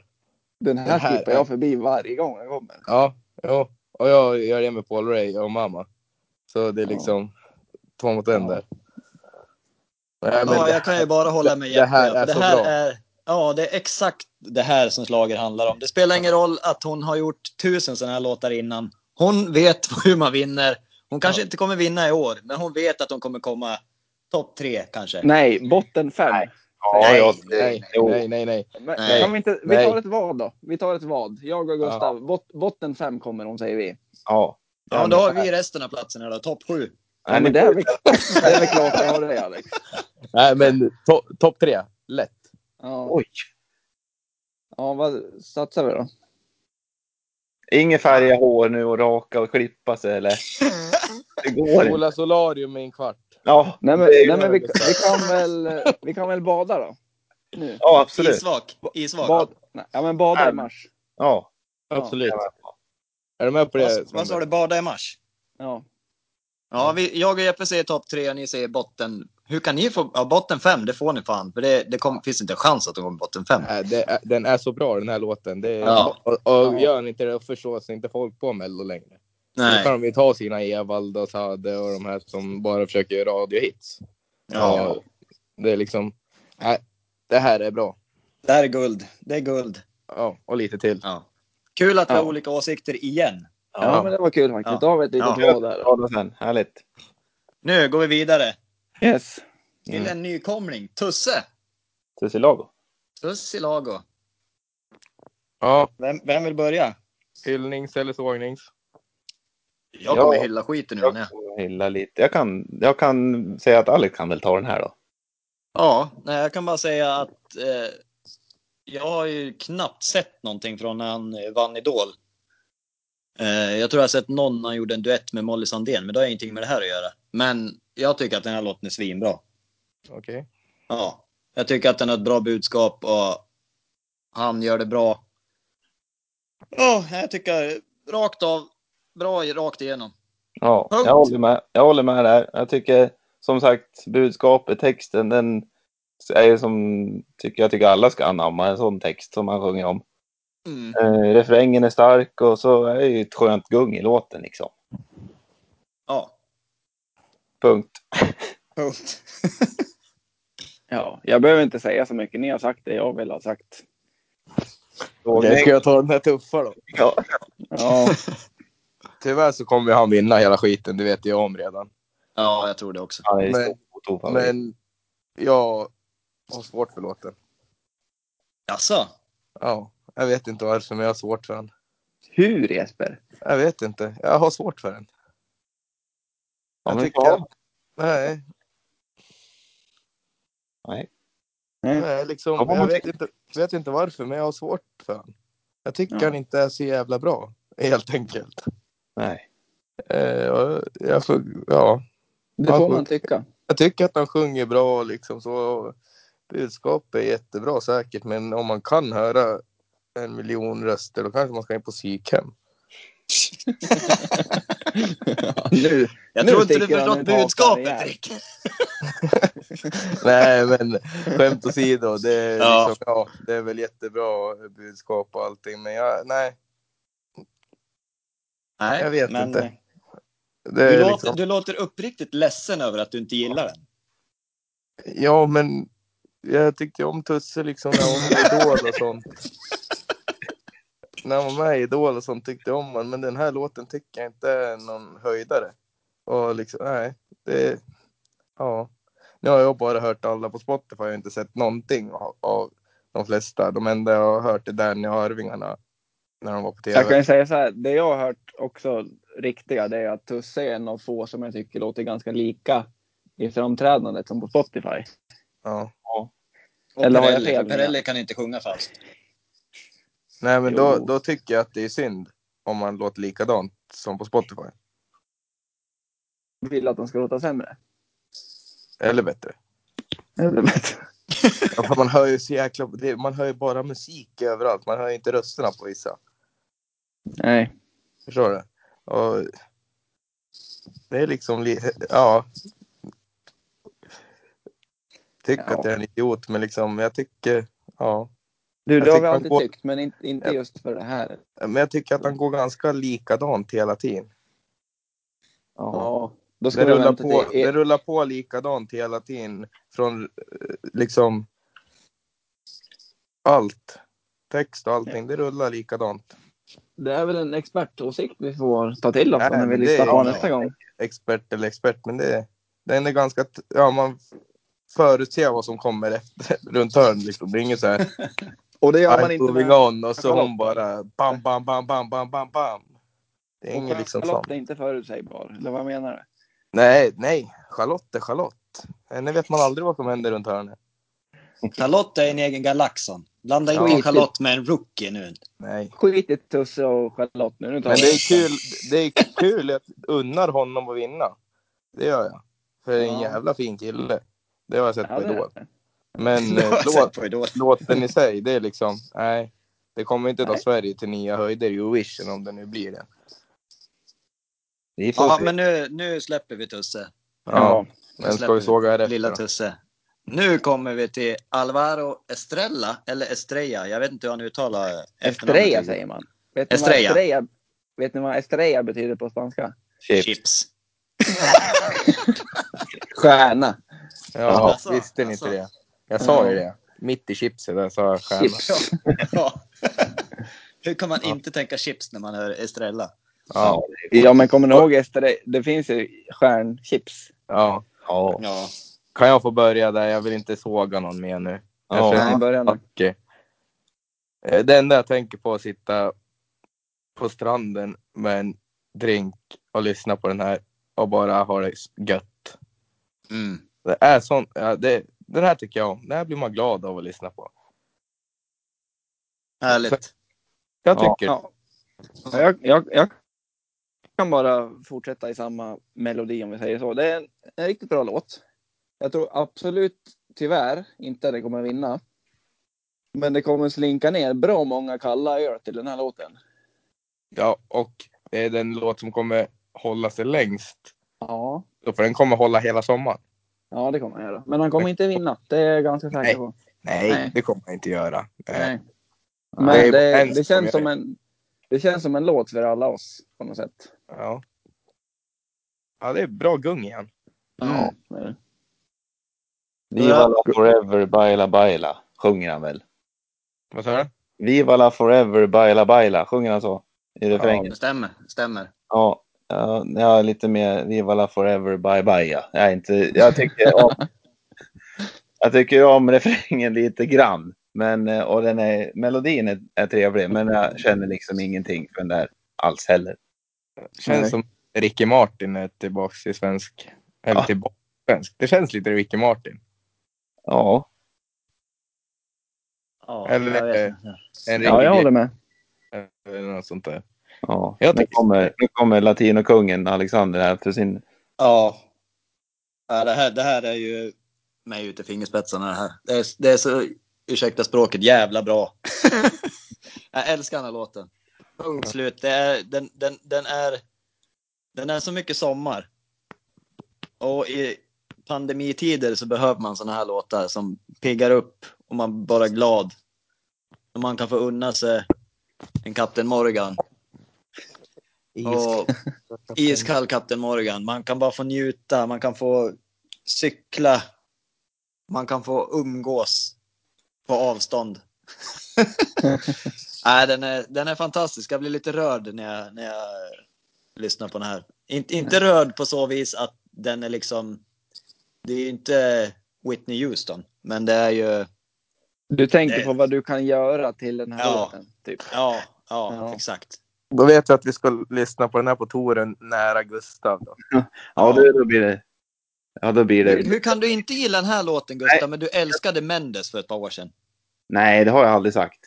Den här,
den här
skippar
är-
jag förbi varje gång jag kommer.
Ja, jo. och jag gör det med Paul Ray och mamma. Så det är liksom två mot en där. Nej, men
Ja,
det-
jag kan ju bara hålla med
det
Jeppe.
här är så bra.
är- ja, det är exakt det här som slaget handlar om. Det spelar ingen roll att hon har gjort tusen sådana här låtar innan. Hon vet hur man vinner. Hon kanske inte kommer vinna i år, men hon vet att hon kommer komma topp tre kanske.
Nej, botten fem.
Ja, jag,
nej,
jo.
nej, nej, nej.
Men,
Nej.
Kan vi, inte, vi
Nej.
tar ett vad då. Vi tar ett vad. Jag och Gustav, bot, botten fem kommer hon säger vi.
Ja.
ja, men då har vi resten av platserna då, topp sju.
Ja, men det, är väl, det är väl klart jag har det Alex.
Nej, men to topp tre, lätt.
Ja,
Oj.
ja vad satsar vi då?
Inget färga hår nu och raka och klippa sig eller? Det går inte.
Ola Solarium i en kvart.
Ja,
Mm. Nej men,
det är-
nej, men vi, vi, kan väl, eh, vi kan väl bada då? Nu.
ja absolut.
Isvak. Isvak.
Bad, nej, ja men bada i mars.
Ja.
Absolut.
Ja.
Är du med på det?
Vad- Vad sa du, bada i mars?
Ja.
Ja, vi, jag och Jeppe säger topp tre och ni säger botten. Hur kan ni få, ja, botten fem, det får ni fan. För det, det kom, finns inte en chans att de kommer botten fem.
Nej, Äh, det är, den är så bra den här låten. Det är,
Ja.
och, och
Ja.
gör ni inte det förstår sig inte folk på Mello längre. Då
Nej.
kan de ju ta sina Evald och Sade och de här som bara försöker göra radiohits.
Ja.
Och Det är liksom, nej, det här är bra.
Det här är guld. Det är guld.
Ja, och lite till.
Ja. Kul att vi har
Ja.
olika åsikter igen.
Ja, men det var kul faktiskt.
Ja.
Då har vi ett litet
Ja.
vad där.
Ja, då sen. Härligt.
Nu går vi vidare
Yes.
till
Mm.
en nykomling. Tusse!
Tussilago.
Tussilago.
Ja,
Vem, vem vill börja?
hyllnings eller sågnings.
Jag
Ja.
kommer hylla skiten nu.
Jag kommer hylla lite. Jag kan, jag kan säga att Alex kan väl ta den här då.
Ja, nej, jag kan bara säga att eh, jag har ju knappt sett någonting från när han eh, vann Idol. Eh, jag tror jag har sett någon när han gjorde en duett med Molly Sandén, men det har ingenting med det här att göra. Men jag tycker att den här låten är svinbra.
Okej.
Ja, jag tycker att den har ett bra budskap och han gör det bra. Ja, jag tycker rakt av, bra i- rakt igenom.
Ja,
Punkt.
jag håller med. Jag håller med där. Jag tycker som sagt budskapet, texten, den är ju som tycker jag tycker alla ska anamma en sån text som man sjunger om.
Mm.
Eh, refrängen är stark och så är det ju ett skönt gung i låten liksom.
Ja,
Punkt.
punkt.
Ja, jag behöver inte säga så mycket. Ni har sagt det jag vill ha sagt.
Okej, ska jag ta den här tuffa då?
Ja.
Ja,
Tyvärr så kommer han vinna hela skiten, det vet jag om redan.
Ja, jag tror det också.
Han är
Men-
stor och stor favorit.
Men jag har svårt för låten.
Jaså?
Ja, jag vet inte varför, men jag har svårt för den.
hur Jesper?
Jag vet inte, jag har svårt för den.
Ja,
Jag
men
tycker...
ja.
Nej, nej liksom,
Ja, men
jag
man
vet inte, vet inte varför, men jag har svårt för den. Jag tycker
Ja.
han inte är så jävla bra, helt enkelt.
Nej.
Eh, och jag, får- ja,
Det får man tycka.
jag tycker att han sjunger bra liksom så. Budskapet är jättebra säkert, men om man kan höra en miljon röster, då kanske man ska in på psykhem.
Nu,
Jag
Nu
tror inte du
sticker han
förstått
ut hakan
budskapet,
rejält.
Rick.
Nej, men skämt åsido, det är,
Ja.
liksom, ja, det är väl jättebra budskap och allting, men jag, nej,
Nej,
jag vet
men,
inte. Det
Du
är
låter,
liksom,
du låter uppriktigt ledsen över att du inte gillar den.
ja, men jag tyckte om Tusse liksom när hon var med i Idol och sånt. När hon var med i Idol och sånt tyckte jag om honom, men den här låten tycker jag inte är någon höjdare. Och liksom, nej, det, ja. Nu har jag bara hört alla på Spotify, jag har inte sett någonting av, av de flesta. De enda jag har hört är Danny och Arvingarna när de var på TV.
jag kan ju säga så här. Det jag har hört också riktiga, det är att Tusse är en av få som jag tycker låter ganska lika i framträdandet som på Spotify.
Ja.
Och
Eller har jag
Perrelli,
fel?
för Perrelli kan inte sjunga falskt.
Nej, men då,
Jo.
då tycker jag att det är synd om man låter likadant som på Spotify.
Vill att de ska låta sämre.
Eller bättre.
Eller bättre.
Ja, för man hör ju så jäkla... Det, man hör ju bara musik överallt. Man hör ju inte rösterna på vissa.
Nej.
Förstår du? Och det är liksom... li- Ja. Tycker
Ja.
att jag är en idiot, men liksom jag tycker... Ja.
Du,
Jag
det har vi
tycker man
alltid
går-
tyckt, men inte, inte
Ja.
just för det här.
Men jag tycker att han går ganska likadant hela tiden.
Ja.
Ja, då ska
Det
du
rullar,
vänta
på,
till E-
det
er...
rullar på likadant hela tiden. Från eh, liksom allt. Text och allting, det rullar likadant.
Det är väl en expertåsikt vi får ta till oss
Nej,
när vi
men det
lyssnar
är-
på honom nästa gång.
Expert eller expert, men det, den är ganska... t- Ja, man förutser vad som kommer efter, runt hörnet. Liksom. Det är inget så här...
Och det gör man
I'm
inte
moving
med...
on och så
Charlotte.
hon bara bam, bam, bam, bam, bam, bam, bam. Det är inget liksom sånt.
Charlotte är inte förutsägbar, eller vad menar du?
Nej, nej. Charlotte är Charlotte. Henne vet man aldrig vad som händer runt hörnet.
Charlotte är en egen galaxon. Blanda
Ja.
inte in Charlotte med en rookie nu.
Nej.
Skit i Tusse och Charlotte nu. nu tar
Men
vi
det är
nästa.
kul, det är kul att unnar honom att vinna. Det gör jag. För det är en
Ja.
jävla fin kille. Det har jag sett
Ja,
på
det är
Idol.
det.
Men
Det
eh,
har jag
låt,
sett på Idol.
låten i sig, det är liksom, nej. Det kommer inte ta
Nej.
Sverige till nya höjder i Eurovision om det nu blir det.
Vi får
Ja,
se.
men nu, nu släpper vi Tusse.
Ja,
Nu
men ska
släpper
vi såga här efter
Lilla
då?
Tusse. Nu kommer vi till Alvaro Estrella, eller Estrella. Jag vet inte hur han uttalar
Estrella säger man. Vet ni, vad
Estrella.
Estrella, vet ni vad Estrella betyder på spanska?
man.
Chips.
Chips.
Stjärna.
Ja,
Alltså,
visste ni inte
alltså.
det? Jag sa ju
Ja.
det. Mitt i chipset där sa jag stjärna.
Chips.
Ja. ja. Hur kan man
Ja.
inte tänka chips när man hör Estrella?
Ja.
Ja, men kommer ni ihåg Estrella? Det finns ju stjärnchips.
Ja.
Ja.
Ja.
Kan jag få börja där? Jag vill inte såga någon mer nu.
Ja.
Jag
Nej, börja nu.
Okej. Eh, Det enda jag tänker på är att sitta på stranden med en drink och lyssna på den här och bara ha det gött.
Mm.
Det är sånt, ja, det, den här tycker jag om. Den här blir man glad av att lyssna på.
Härligt.
Jag
Ja.
tycker
Ja. Ja, Jag, jag, jag kan bara fortsätta i samma melodi om vi säger så. Det är en, en riktigt bra låt. Jag tror absolut, tyvärr, inte att den kommer vinna. Men det kommer slinka ner bra många kalla öl till den här låten.
Ja, och det är den låt som kommer hålla sig längst.
Ja,
För den kommer hålla hela sommaren.
ja det kommer han göra. Men han kommer inte vinna, det är jag ganska säker på.
Nej,
Nej.
det kommer jag inte göra. Eh,
Nej.
Det är
Men det,
Benz
det,
som gör
känns som
det.
en, det känns som en låt för alla oss på något sätt.
Ja. ja, det är bra gung igen.
Mm.
Mm.
Viva la forever, baila baila, sjunger han väl?
Vad sa du?
Viva la forever, baila baila, sjunger han så? I refrängen?
Det stämmer. Stämmer.
Ja. Ja, ja, lite mer Viva la forever, bye bye. Ja. Jag, är inte, jag, tycker om, jag tycker om refrängen lite grann. Men, eh, och den är, melodin är, är trevlig, men jag känner liksom ingenting för den där alls heller.
Känns
Nej.
som Ricky Martin är tillbaka i svensk. Eller
Ja.
tillbaka i svensk. Det känns lite Ricky Martin.
Ja,
Ja,
Eller-
jag vet inte.
En
Ja, jag håller med.
Eller något sånt där.
ja.
Jag
nu,
tycker-
kommer, nu kommer latinokungen Alexander här för sin...
Ja. ja det, här, det här är ju mig ute i fingerspetsarna det här. Det är, det är så, ursäkta språket, jävla bra. jag älskar den här låten. Punkt slut. Det är, den, den, den, är, den är så mycket sommar. Och i pandemitider så behöver man såna här låtar som piggar upp och man bara är glad. Och man kan få unna sig en Kapten Morgan. Och Iskall Kapten Morgan. Man kan bara få njuta, man kan få cykla, man kan få umgås på avstånd. Nej, den, är, den är fantastisk. Jag blir lite rörd när jag, när jag lyssnar på den här. In, inte rörd på så vis att den är liksom... Det är ju inte Whitney Houston, men det är ju...
Du tänker
Det-
på vad du kan göra till den här
Ja.
låten. Typ.
Ja, ja,
Ja.
exakt.
Då vet vi att vi ska lyssna på den här på touren nära Gustav. Då.
Ja, då, då blir det... Ja, då blir
Hur,
det...
hur kan du inte gilla den här låten, Gustav? Men du älskade Mendes för ett par år sedan.
Nej, det har jag aldrig sagt.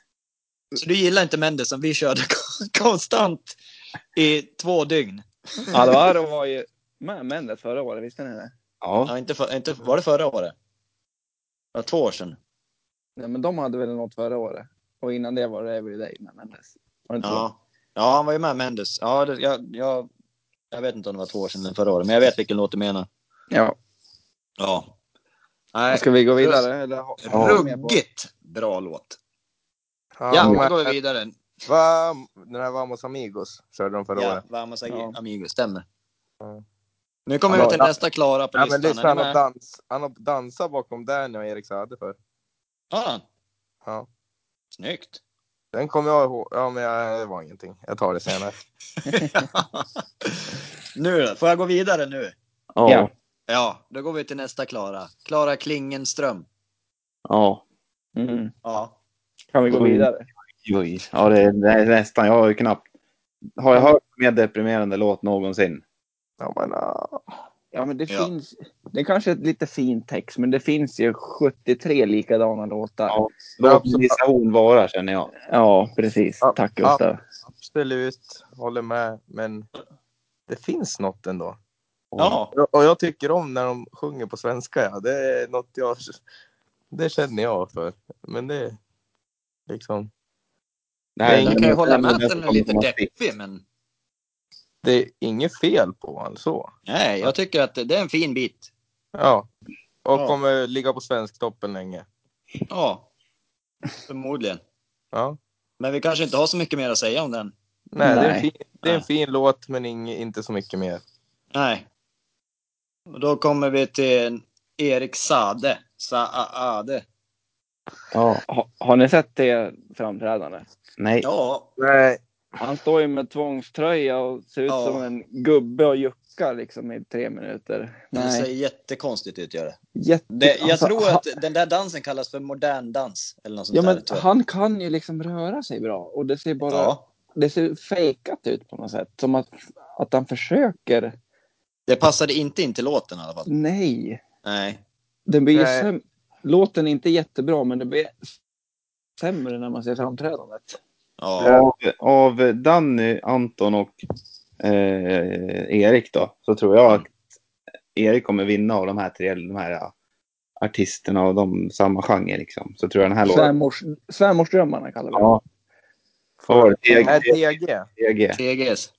Så du gillar inte Mendes som vi körde konstant i två dygn?
Alvaro var ju med Mendes förra året, visste ni det?
Ja,
Ja, inte för, inte, var det förra året? Det var två år sedan.
Nej, men de hade väl något förra året. Och innan det var det Everyday med Mendes. Var det inte så?
Ja. ja, han var ju med Mendes. Ja, det, jag, jag, jag vet inte om det var två år sedan eller förra året, men jag vet vilken låt du menar.
ja.
Ja. Nej,
Ska vi gå vidare? Eller? ha- har vi mer på-
ruggigt bra låt.
Ja,
Ja,
men-
då går vi vidare.
Va, den här Vamos Amigos körde de förra
Ja,
året.
Vamos
Ja.
Amigos, stämmer.
Ja.
Nu kommer vi
Hallå,
till
ja.
nästa Klara på
Ja, men
listan.
lyssna,
Är
han,
ni
har
med?
dans, han har dansat bakom Danny och Erik Saade för.
Har han?
Ja.
Snyggt.
Den kommer jag ihåg. Ja, men jag, det var ingenting. Jag tar det senare.
nu då, får jag gå vidare nu?
ja,
Ja.
Ja, då går vi till nästa Klara. Klara Klingenström.
ja.
Mm.
Ja.
Kan vi gå vidare?
Oj, ja det är, det är nästan. Jag har ju knappt. Har jag hört mer deprimerande låt någonsin?
Ja, men, ah.
Ja, men det
Ja.
finns. Det är kanske är lite fin text, men det finns ju 73 likadana låtar.
Ja.
Ja,
Låt
absolut.
Nissa Horn vara känner jag.
precis.
Ja.
Tack
Ja.
Gustav.
Absolut, håller med. Men det finns något ändå.
Ja.
Och jag tycker om när de sjunger på svenska. Ja. Det är något jag... Det känner jag för. Men det... Liksom...
Nej,
Jag kan ju hålla med att den är lite deppig, men
Det är inget fel på honom så.
nej, jag tycker att det det är en fin bit.
Ja. Och
Ja.
kommer ligga på svensktoppen länge.
Ja, förmodligen.
Ja.
Men vi kanske inte har så mycket mer att säga om den.
Nej, Det, är en
Nej.
fin, det är en fin låt, men ing, inte så mycket mer.
Nej. Och då kommer vi till Erik Sade. Saade.
Ja,
Ha, har ni sett det framträdandet?
nej.
Ja,
Nej.
Han står ju med tvångströja och ser ut
Ja.
som en gubbe och juck, suckar liksom i tre minuter.
Det ser
Nej,
jättekonstigt ut gör det.
jätte...
det jag
alltså,
tror
han-
att den där dansen kallas för modern dans eller något sånt
Ja,
där.
men
tror jag.
han kan ju liksom röra sig bra och det ser bara
ja,
det ser fejkat ut på något sätt. Som att, att han försöker.
det passade inte in till låten i alla fall.
Nej,
Nej.
den blir ju
Nej.
säm- Låten är inte jättebra, men det blir sämre när man ser framträdandet.
Ja.
Av, av Danny, Anton och eh, Erik då, så tror jag att Erik kommer vinna av de här tre, de här ja, artisterna och de samma genre liksom. Så tror jag den här låten.
Svärmors, svärmorsdrömmarna kallar vi det.
Ja. För
Nej,
TG,
TG.
TG.
TGS.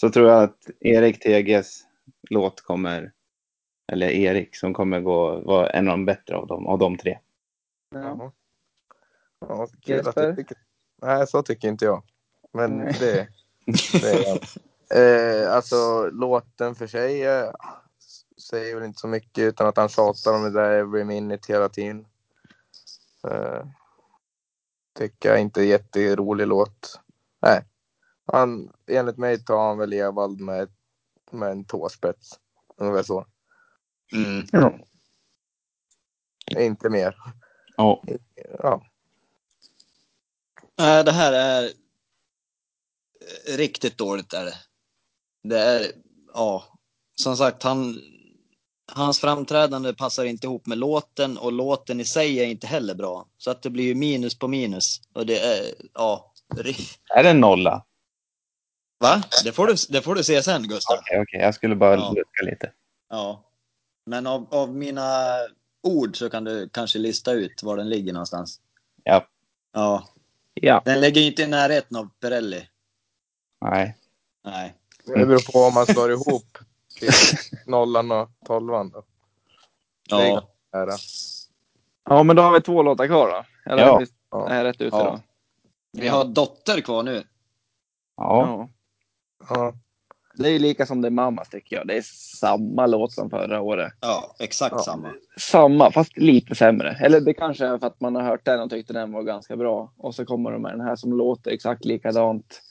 Så tror jag att Erik TGs låt kommer, eller Erik som kommer gå, vara en av de bättre av dem, av de tre.
Ja.
Ja. Ja, kul att
Jesper?
du tycker... Nej, så tycker inte jag. Men
Nej.
det, det är jag. Eh, alltså, låten för sig eh, säger väl inte så mycket utan att han tjatar om det där every minute hela tiden. Eh, tycker jag inte är jätterolig låt. Nej, han, enligt mig tar han väl Evald med, med en tåspets. Ungefär så.
Mm.
Inte mer.
Ja,
Ja.
Nej, det här är eh, riktigt dåligt är det. Det är, ja, som sagt, han, hans framträdande passar inte ihop med låten och låten i sig är inte heller bra. Så att det blir ju minus på minus och det är, ja. ri-
är det en nolla?
Va? Det får du, det får du se sen Gustav.
Okej, okej, jag skulle bara
Ja.
lucka lite.
Ja. Men av, av mina ord så kan du kanske lista ut var den ligger någonstans.
Ja.
Ja.
Ja.
Den ligger ju inte i närheten av Pirelli.
Nej.
Nej.
Det beror på om man slår ihop typ, nollan och tolvan. Då.
Ja.
Här, då.
ja, men då har vi två låtar kvar då. Eller
Ja.
ja.
Ja.
är jag rätt ute
Ja.
då?
Vi har dotter kvar nu.
Ja.
Ja.
Det är ju lika som det är mamma tycker jag. Det är samma låt som förra året.
Ja, exakt
Ja.
samma.
Samma, fast lite sämre. Eller det kanske är för att man har hört den och tyckte den var ganska bra. Och så kommer de med den här som låter exakt likadant.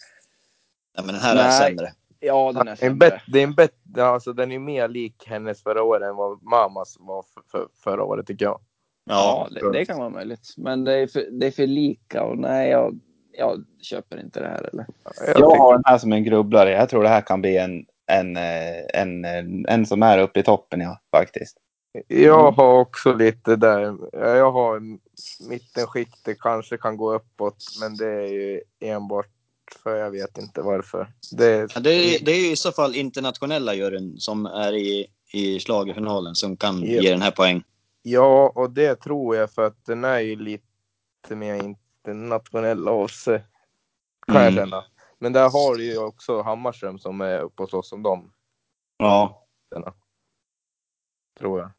Nej, men den här är
Nej.
sämre.
Ja, den är
Det är en
sämre.
bet- det är en bet- ja, alltså, den är mer lik hennes förra året än vad mammas var för, för, förra året tycker jag.
Ja.
Ja, det, det kan vara möjligt. Men det är för, det är för lika och nej, jag, jag köper inte det här. Eller?
Jag
Jag
tycker-
har den här som en grubblare. Jag tror det här kan bli en, en, eh, en, en, en som är uppe i toppen, ja, faktiskt.
Jag har också lite där. ja, Jag har en mittenskikt. Det kanske kan gå uppåt, men det är ju enbart för jag vet inte varför. Det är,
Ja, det, är, det är ju i så fall internationella juryn som är i, i schlagerfinalen som kan
Ja.
ge den här poäng.
ja, och det tror jag för att den är ju lite mer internationell av sig. Kan jag
Mm.
känna. Men där har du ju också Hammarström som är uppe och slåss som dem,
Ja.
tror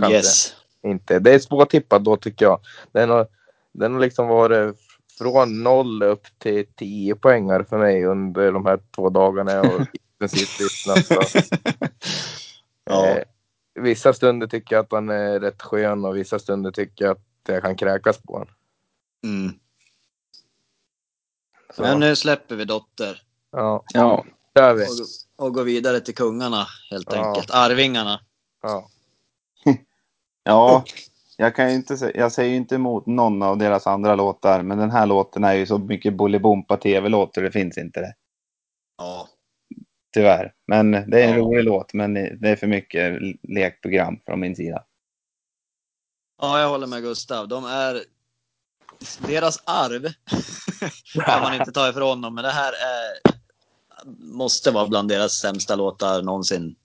jag.
Yes.
inte. Det är svårtippat då tycker jag. Den har, den har liksom varit från noll upp till 10 poängar för mig under de här två dagarna jag har intensivt lyssnat. Så,
Ja.
eh, vissa stunder tycker jag att han är rätt skön och vissa stunder tycker jag att jag kan kräkas på honom.
Mm.
Så,
Men nu släpper vi dotter.
ja,
Ja.
det är vi.
Och, och går vidare till kungarna helt
Ja.
enkelt. Arvingarna.
Ja.
Ja, jag kan ju inte sä- jag säger ju inte emot någon av deras andra låtar, men den här låten är ju så mycket Bolibompa tv-låt och det finns inte det.
Ja.
Tyvärr. Men det är en
Ja.
rolig låt, men det är för mycket lekprogram från min sida.
ja, jag håller med Gustav. De är... Deras arv kan man inte ta ifrån dem, men det här är... måste vara bland deras sämsta låtar någonsin.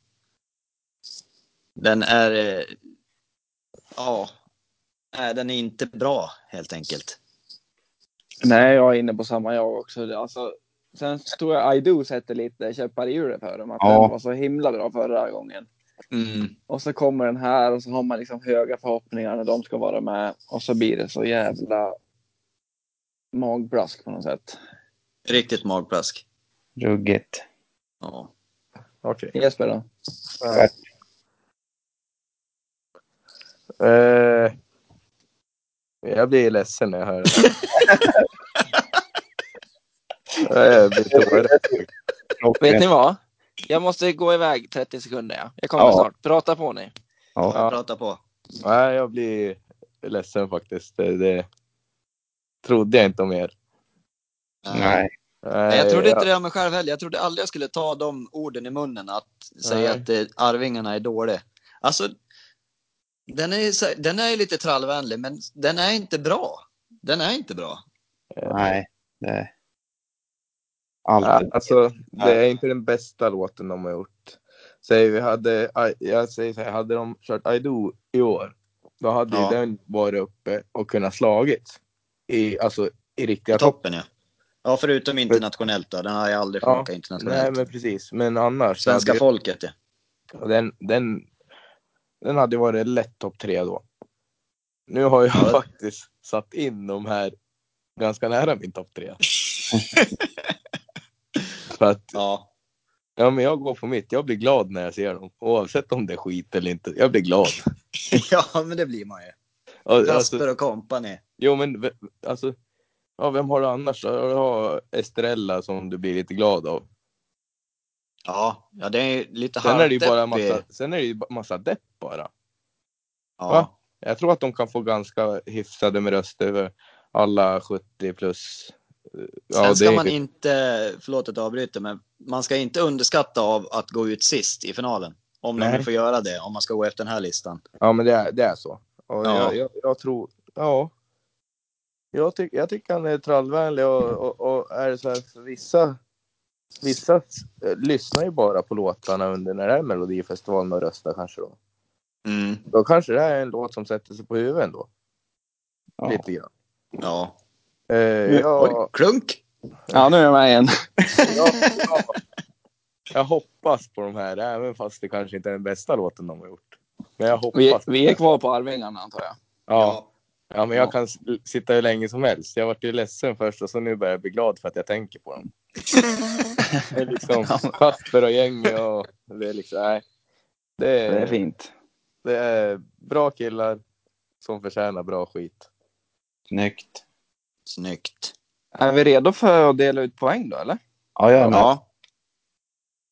Den är... eh, Ja. Nej, den är inte bra helt enkelt.
Nej, jag är inne på samma jag också. Det- Alltså, sen tror jag I Do sätter lite käppar i hjulet för dem. Att
Ja.
den var så himla bra förra gången.
Mm.
Och så kommer den här och så har man liksom höga förhoppningar när de ska vara med. Och så blir det så jävla magbrask på något sätt.
Riktigt magplask.
Ruggigt.
Ja.
Okej.
Jesper då?
Eh, jag blir ledsen när jag hör det. här. jag blir tårögd.
Vet ni vad?
Jag måste gå iväg 30 sekunder. Ja. Jag kommer
Ja.
snart. Prata på ni.
Ja.
Ja.
Prata på.
Nej, jag blir ledsen faktiskt. Det, det trodde jag inte om er.
Nej.
Nej, jag trodde inte
jag-
det om mig själv heller. Jag trodde aldrig jag skulle ta de orden i munnen, att säga
Nej.
att eh, Arvingarna är dåliga. Alltså, den är, ju så- den är ju lite trallvänlig, men den är inte bra. Den är inte bra.
Nej. Det... Allt.
Ja, alltså, det är inte den bästa låten de har gjort. Säg, vi hade, aj, jag säger så här, hade de kört I Do i år, då hade
Ja.
ju den varit uppe och kunnat slagit. I, alltså, i riktiga topp.
Toppen ja. Ja, förutom internationellt då. Den har ju aldrig
Ja.
funkat internationellt.
Nej, men precis. Men annars.
Svenska
hade,
folket ja.
ju- den, den, den hade ju varit lätt topp tre då. Nu har jag
Ja.
faktiskt satt in de här ganska nära min topp tre. För att
Ja.
Ja, men jag går på mitt. Jag blir glad när jag ser dem. Oavsett om det är skit eller inte. Jag blir glad.
ja, men det blir man ju.
Och, alltså,
Kasper och kompani.
jo, men v- alltså. Ja, vem har du annars då? Du har Estrella som du blir lite glad av.
Ja, ja, det är ju lite
Sen är det ju bara
halvdeppig.
massa, sen är det ju ba- massa depp bara.
Ja.
Va? Jag tror att de kan få ganska hyfsade med röster över alla 70 plus. Ja,
Sen ska
det är-
man inte, förlåt att jag avbryter, men man ska inte underskatta av att gå ut sist i finalen. Om de
Nej.
nu får göra det, om man ska gå efter den här listan.
Ja, men det är, det är så. Och
Ja.
jag, jag, jag tror, ja. Jag, tyck, jag tycker han är trallvänlig och, och, och är så här, för vissa, vissa eh, lyssnar ju bara på låtarna under när det är Melodifestivalen och röstar kanske då. Då kanske det här är en låt som sätter sig på huvudet ändå.
Ja.
Lite grann.
Ja.
Eh, jag,
Oj, klunk!
Ja, nu är jag med igen.
jag, jag, jag hoppas på de här, även fast det kanske inte är den bästa låten de har gjort. Men jag
Vi,
hoppas.
vi är kvar på Arvingarna antar jag.
ja. Ja, men jag
Ja.
kan s- sitta hur länge som helst. Jag vart ju ledsen först och så nu börjar jag bli glad för att jag tänker på dem. det är liksom Kasper och gänget och det är liksom, nej. Det
Det är
är,
fint.
det är bra killar som förtjänar bra skit.
Snyggt.
Snyggt.
Är vi redo för att dela ut poäng då eller?
Ja, jag är med.
Ja.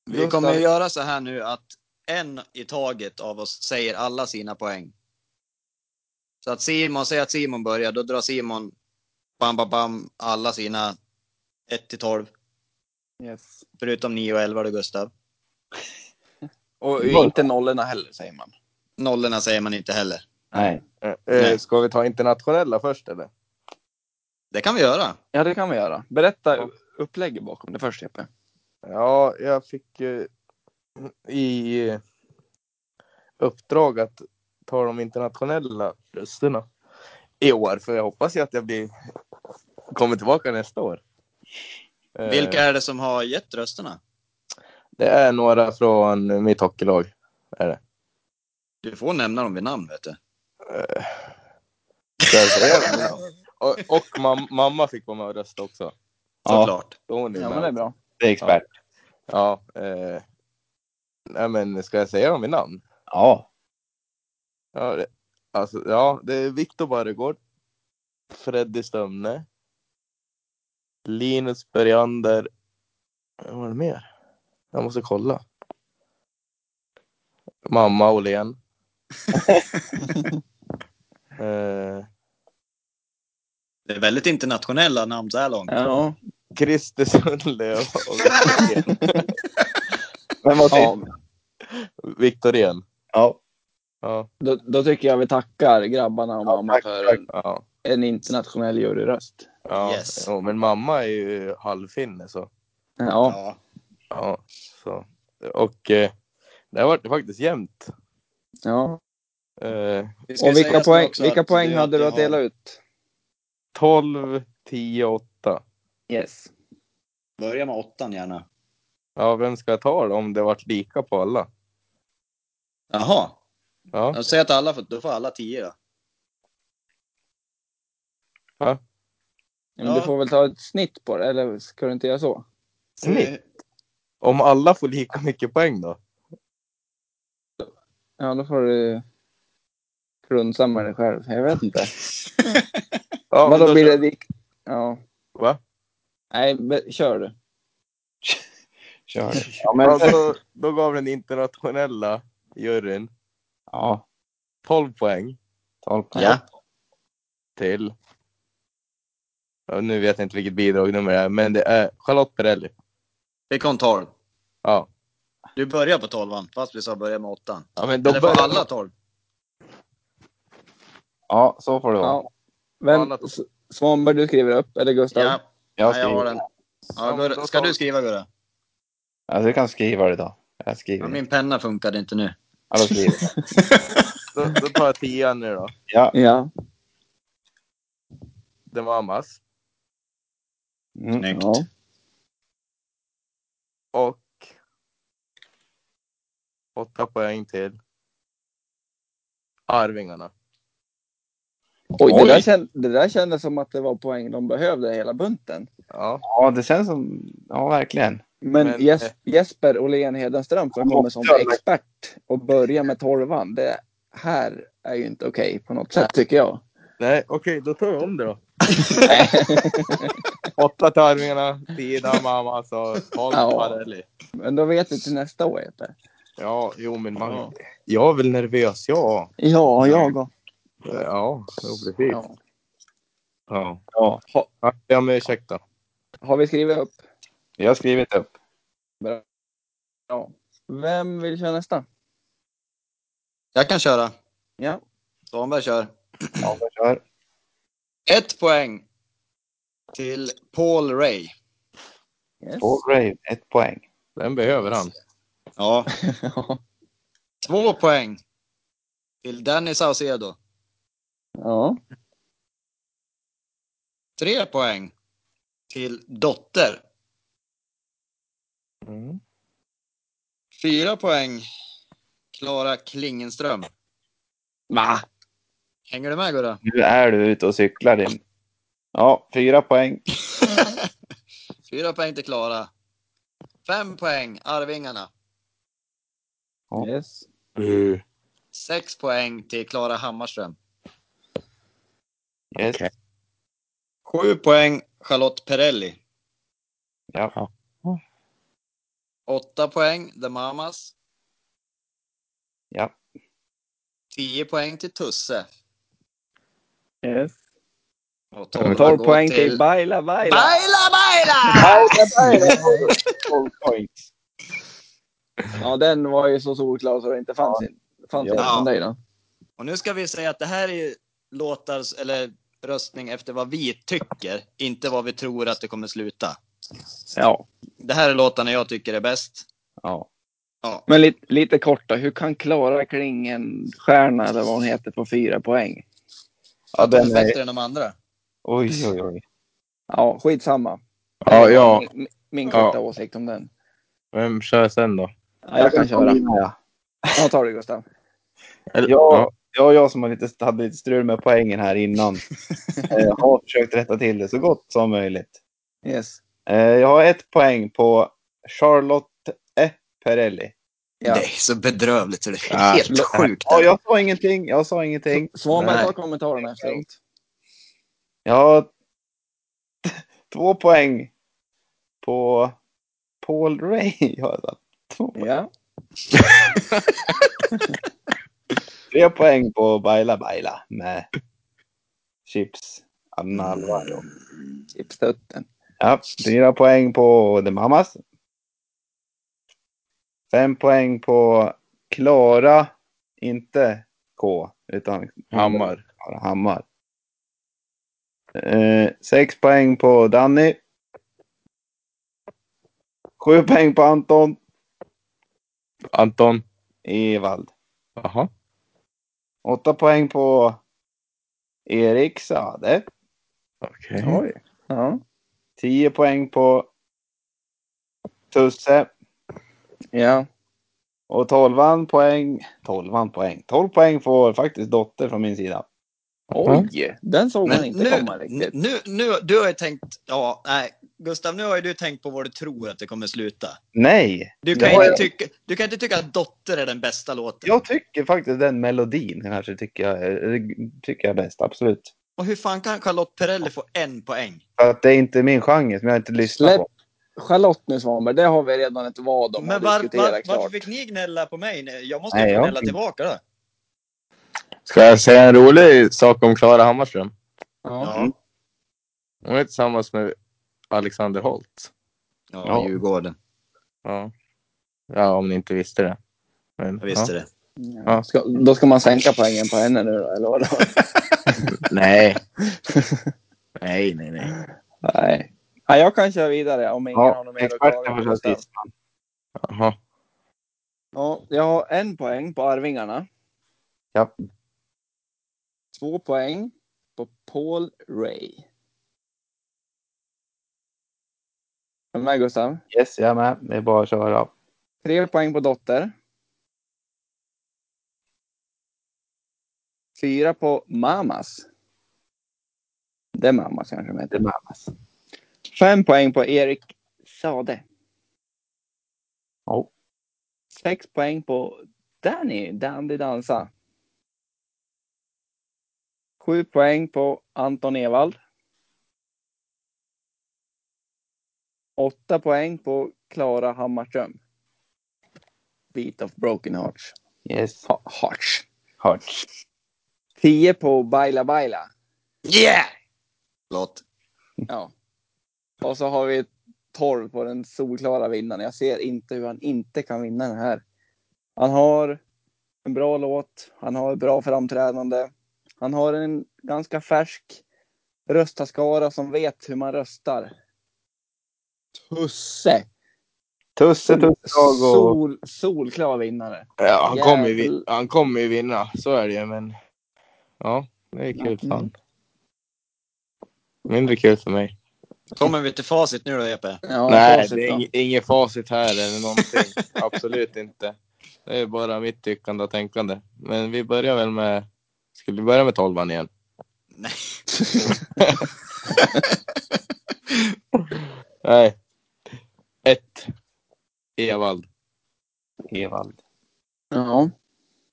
Vi
Gustav-
kommer att göra så här nu att en i taget av oss säger alla sina poäng. Så att Simon, säg att Simon börjar, då drar Simon bam, bam, bam, alla sina 1 till 12,
Yes.
förutom 9 och 11 då Gustav.
Och
Bra.
inte nollorna heller säger man.
Nollorna säger man inte heller.
Nej.
Eh, Eh,
Nej.
ska vi ta internationella först eller?
Det kan vi göra.
Ja, det kan vi göra. Berätta u- upplägget bakom det först Jeppe.
Ja, jag fick eh, i eh, uppdrag att ta de internationella rösterna i år. För jag hoppas ju att jag blir, kommer tillbaka nästa år. Eh,
Vilka är det som har gett rösterna?
Det är några från mitt hockeylag. Är det.
Du får nämna dem vid namn vet du.
Ska jag säga det? och och mam, mamma fick vara med och rösta också.
Ja,
Såklart.
Då hon är
Ja,
med.
men det är bra.
det är expert.
Ja, eh, nej, men ska jag säga dem i namn?
Ja.
Ja, det, alltså, ja, det är Viktor Barregård, Freddy Stömne, Linus Bergander. Vad var det mer? Jag måste kolla. Mamma Åhlén. eh,
Det är väldigt internationella namn så här långt.
Ja.
Christer Sundlöv och
Vem var sist?
Ja,
Viktorén.
Ja.
Ja,
då, då tycker jag vi tackar grabbarna och
Ja,
mamma
tack,
för
tack.
en,
ja,
en internationell juryröst.
ja.
Yes.
Jo, men mamma är ju halvfinne så.
Eh, Ja,
Ja.
Ja, så. Och eh, det har varit faktiskt jämnt.
ja.
Eh,
Vi ska
Och
ju säga
vilka
så
poäng,
också
vilka
att
poäng hade du att
har-
dela ut?
12, 10, 8.
Yes.
Börja med åttan gärna.
Ja, vem ska jag ta då om det varit lika på alla?
Jaha.
Ja,
Jag säger att alla får, då får alla tio då.
Men Du
Ja.
får väl ta ett snitt på det, eller ska du inte göra så?
Snyggt. om alla får lika mycket poäng då?
Ja, då får du frunsa med dig själv. Jag vet inte.
Ja,
Men
men
då blir det... lik- Ja.
Va?
Nej, be- kör du.
Kör. Ja, men,
Alltså, då gav den internationella juryn
ja,
12 poäng
tolv
Ja.
till... Ja, nu vet jag inte vilket bidragnummer det är, men det är Charlotte Perrelli.
Vi kom 12.
Ja,
Du börjar på 12 fast vi sa börja med 8
ja men då
Eller på
börjar
alla 12.
Ja, så får det vara.
Ja. Vem, S- Svanberg, du skriver upp, eller Gustav?
Ja,
Jag,
ja, jag har
skriver.
den. Ja,
Ja, men
Gurra,
då
ska
tar-
du skriva Gurra?
Alltså, du kan skriva det då. Jag
Ja,
skriver. det.
min penna funkade inte nu.
Ja, då skriver. jag.
då, då tar jag tian nu då.
Ja.
Ja.
Det var Amas.
Mm.
Snyggt.
Ja.
Och... Åtta poäng till. Arvingarna.
Oj,
Oj.
Det, där känd, det där kändes som att det var poäng de behövde, hela bunten.
Ja.
ja, det känns som... Ja, verkligen.
Men,
Men,
Jes-
eh,
Jesper Åhlén Hedenström som
Han
kommer som
måste-
expert och börjar med torvan. Det här är ju inte okej på något sätt, tycker jag.
Nej, okej, då tar vi om det då. Åtta till Arvingarna, alltså, tio till Amas och tolv till
Ja.
Parelli.
Men då vet vi till nästa år, Jeppe.
Ja, jo men man...
Ja.
Jag är väl nervös, ja.
Ja, jag och.
Ja, jo, precis. Ja.
Ja.
Ja.
Ja,
Ja, ja, men ursäkta.
Har vi skrivit upp?
jag har skrivit upp.
Bra. Ja. Vem vill köra nästa?
Jag kan köra.
Ja.
Svanberg kör.
Ja, jag kör.
Ett poäng till Paul Ray.
Yes.
Paul Rave, ett poäng.
Den behöver han.
Ja.
Ja.
Två poäng till Danny Saucedo.
ja.
Tre poäng till Dotter.
Mm.
Fyra poäng Klara Klingenström.
Va?
Hänger du med Gurra?
Nu är du ute och cyklar din. Ja, fyra poäng.
Fyra poäng till Klara. Fem poäng Arvingarna.
Yes.
Uh.
Sex poäng till Klara Hammarström.
Yes.
Okej.
Sju poäng Charlotte Perelli.
Ja.
Åtta poäng The Mamas.
Ja.
Tio poäng till Tusse.
yes.
Och
Torv
går
poäng till Baila Baila.
Baila Baila!
Baila, baila.
Tolv poäng.
Ja, den var ju så solklar så det inte fanns, ja. fanns
Ja.
ja. från dig då.
Och nu ska vi säga att det här är ju låtar, eller röstning efter vad vi tycker, inte vad vi tror att det kommer sluta.
Ja.
Det här är låtarna jag tycker är bäst.
Ja.
Ja.
Men lite, lite kort då. Hur kan Klara Klingen stjärna eller vad hon heter på fyra poäng?
ja,
Den är
den är...
bättre än de andra.
Oj, oj, oj.
Ja, skitsamma.
Ja,
Det var
ja.
Min, min
Ja.
korta åsikt om den.
Vem kör sen då?
Ja, jag kan köra.
Ja.
Ja, tar du Gustav.
Eller,
Ja, ja, jag som har lite, hade lite strul med poängen här innan eh, har försökt rätta till det så gott som möjligt.
Yes.
Eh, jag har ett poäng på Charlotte E. Perelli.
Ja.
Det är så bedrövligt så det är
Ja.
helt sjukt.
Ja, jag sa ingenting. Jag sa ingenting.
Svanberg, ta
Nej.
kommentarerna efteråt.
Jag har t- två poäng på Paul Ray. Jag har satt två.
Ja.
Tre poäng på Baila Baila med Chips Anna Alvaro.
Chipstutten.
Ja, fyra poäng på The Mamas. Fem poäng på Klara, inte K, utan
Hammar.
Klara Hammar. Eh, sex poäng på Danny. Sju poäng på Anton
Anton.
Evald.
Jaha.
Åtta poäng på Erik Sade.
Okej.
Mm.
Oj. Ja.
Tio poäng på Tusse.
Ja.
Och 12 poäng, 12 poäng, 12 poäng får faktiskt Dotter från min sida.
Oj, den såg man
Men
inte
nu,
komma riktigt.
nu, nu, du har ju tänkt, ja, nej, Gustav, nu har ju du tänkt på vad du tror att det kommer sluta.
Nej,
Du kan,
Det
ju
har
inte tycka, du kan inte tycka att Dotter är den bästa låten.
jag tycker faktiskt den melodin kanske tycker jag är, tycker jag är bäst, absolut.
Och hur fan kan Charlotte Perrelli få en poäng?
För att det är inte min genre som jag inte lyssnar
Släpp
på.
Charlotte nu Svanberg, det har vi redan ett vad om
Men
att
var,
diskutera
var,
klart.
varför fick ni gnälla på mig? nu? Jag måste
Nej,
ju få
jag
gnälla
fick-
tillbaka då.
Ska jag säga en rolig sak om Klara Hammarström?
Ja.
Mm.
Ja.
Hon är tillsammans med Alexander Holt.
Ja, Djurgården.
Ja, ja om ni inte visste det. Men,
Jag visste
ja.
det.
Ja.
Ska, då ska man sänka poängen på henne nu då, eller vadå?
Nej. nej, nej, nej.
Nej. Nej, jag kan köra vidare om ingen har
Ja,
något mer att
experten
klaga
får
på.
köra
sen.
sist. Jaha.
Ja, jag har en poäng på Arvingarna.
Ja.
Två poäng på Paul Ray. Är du med Gustav?
Yes, jag är med. Det är bara att köra.
Tre poäng på Dotter. Fyra på Mamas. Det är Mamas kanske de heter.
Mamas.
Fem poäng på Erik Sade.
Ja.
Sex poäng på Danny Dandy Dansa. Sju poäng på Anton Ewald. Åtta poäng på Klara Hammarström. Beat of Broken Hearts.
Yes.
Ha- Hearts.
Hört.
Tio på Baila Baila.
Yeah! Förlåt.
Ja. Och så har vi 12 på den solklara vinnaren. Jag ser inte hur han inte kan vinna den här. Han har en bra låt, han har ett bra framträdande. Han har en ganska färsk röstarskara som vet hur man röstar. Tusse!
Tusse, tusse, och...
Sol, solklar vinnare.
Ja, han,
Jävlar.
kommer ju vin- han kommer ju vinna, så är det ju. Men ja, det är kul för han. Mindre kul för mig.
Kommer vi till facit nu då, E Jeppe?
Ja,
Nej,
facit
det är
då.
ing- inget facit här eller någonting. Absolut inte. Det är bara mitt tyckande och tänkande. Men vi börjar väl med... Ska vi börja med tolvan igen?
Nej.
Nej. Ett. Evald.
Evald.
Ja.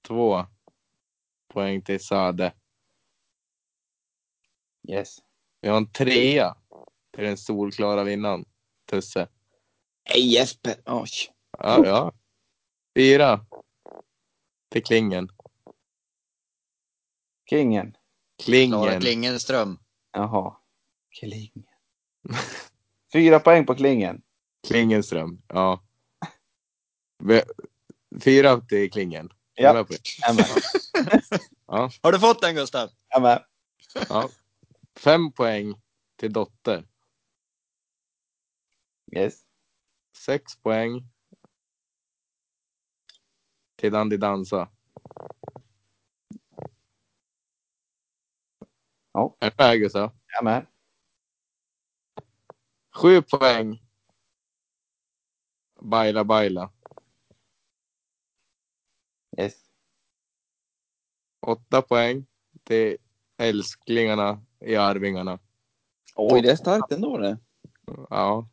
Två. Poäng till Sade.
Yes.
Vi har en trea. Till den solklara vinnaren. Tusse.
Nej, Jesper! Oj.
Ja, ja. Fyra. Till Klingen.
Kingen.
Klara
Klingen.
Klingenström.
Jaha. Klingen. Fyra poäng på klingen.
Klingenström. Ja. Ve- Fyra till Klingen.
Ja.
Kolla på det.
Jag är med.
Har du fått den, Gustav?
Jag är med.
Ja. Fem poäng till Dotter.
Yes.
Sex poäng till Dandy Dansa.
Ja.
Är du med Gustav?
Jag är med.
Sju poäng. Baila baila.
Yes.
Åtta poäng till älsklingarna i Arvingarna.
Oj, det är starkt ändå det.
Ja.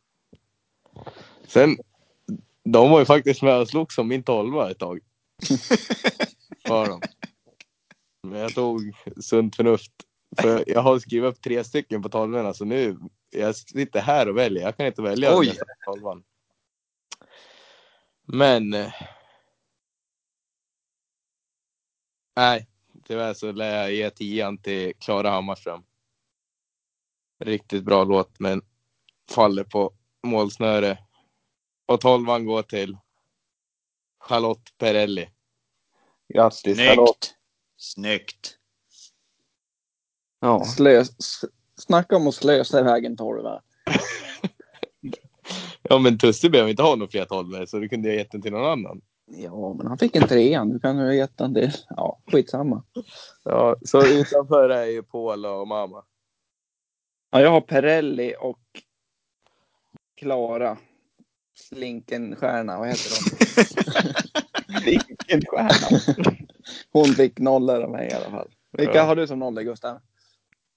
Sen, de var ju faktiskt med och slogs om min tolva ett tag. Var de. Men jag tog sunt förnuft. För jag har skrivit upp tre stycken på tolvorna, så nu jag sitter här och väljer. Jag kan inte välja
Oj.
nästa tolvan. Men. eh, Nej, tyvärr så lär jag ge tian till Klara Hammarström. Riktigt bra låt, men faller på målsnöre. Och tolvan går till Charlotte Perrelli.
Grattis Charlotte.
Snyggt! Snyggt!
Ja.
Slös, s- snacka om att slösa iväg en tolva.
Ja, men Tusse behöver inte ha några fler tolvor, så du kunde jag gett den till någon annan.
Ja, men han fick en trea. Nu kan du ha gett han det. Ja, skitsamma.
Ja, så utanför är ju Paula och mamma.
Ja, jag har Perelli och Klara. Slinkenstjärna, vad heter hon?
Vilken stjärna.
Hon fick nollor av mig i alla fall. Vilka
Ja.
har du som nollor, Gustav?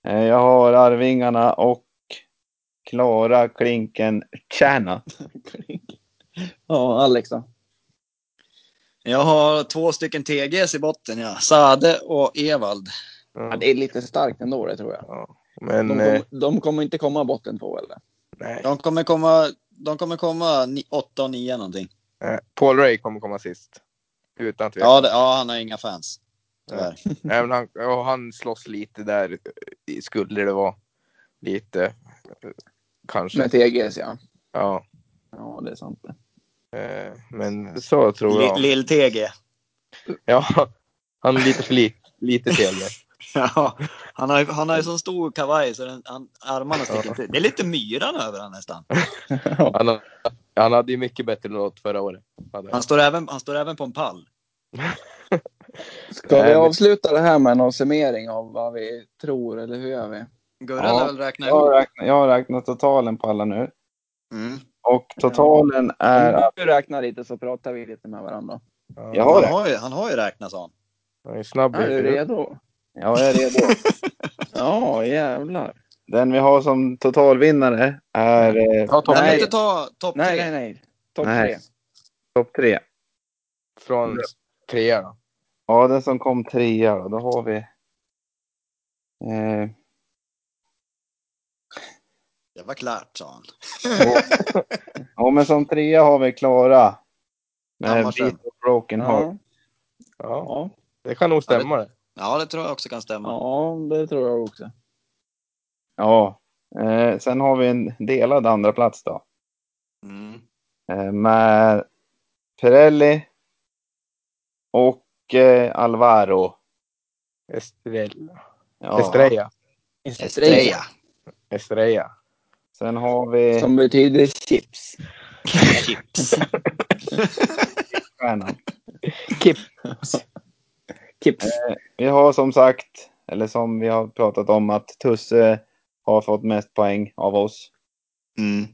Eh, Jag har Arvingarna och Klara Klinken Tjärna.
Ja, Alex då?
Jag har två stycken TGs i botten, ja. Sade och Evald.
Ja, det är lite starkt ändå det tror jag.
Men
De,
eh,
kom, de kommer inte komma botten två eller?
nej.
De kommer komma de kommer komma ni- åtta och nio någonting.
Eh, Paul Ray kommer komma sist. Utan tvekan.
Ja, det, ja, han har inga fans. Tyvärr.
Nej, men han, ja, han slåss lite där, i- skulle det vara. Lite, eh, kanske.
Med TGS ja.
Ja.
Ja, det är sant.
eh, Men så tror jag.
Lill-TG.
Ja, han är lite för li, lite fel.
Ja, han har ju han har ju sån stor kavaj så den, han, armarna sticker ut. Det är lite myran över han nästan.
Han, har- han hade ju mycket bättre låt förra året. Hade han.
Han står även, han står även på en pall.
Ska
Nej,
vi
men-
avsluta det här med någon summering av vad vi tror eller hur gör vi?
Gurra
Ja.
lär väl räkna
Jag har
ihop.
räknat, jag har räknat totalen på alla nu.
Mm.
Och totalen är att...
Om du räknar lite så pratar vi lite med varandra.
Ja,
Jag har
Han,
det.
har ju, han har ju räknat sa han.
Han är snabb. i
Är du
huvudet.
redo?
Ja, jag är redo.
Ja, jävlar.
Den vi har som totalvinnare är eh,
Ta topp
Kan
Nej.
vi inte ta topp
Nej,
tre?
nej, nej. Topp
Nej.
tre.
topp tre.
från trea då.
Ja, den som kom trea då, då har vi... Eh,
Det var klart sa han.
ja, men som trea har vi Klara. Med
Hammarström.
Beat of Broken Heart.
Ja,
Ja,
ja,
det kan nog stämma det.
Ja, det tror jag också kan stämma.
ja, det tror jag också.
Ja. Eh, sen har vi en delad andra plats då.
Mm.
Eh, med Pirelli och eh, Alvaro.
Estrella.
Ja.
Estrella.
Estrella.
Estrella.
Sen har vi
Som betyder chips.
Chips.
stjärnan.
Chips.
Vi har som sagt, eller som vi har pratat om, att Tusse har fått mest poäng av oss.
Mm.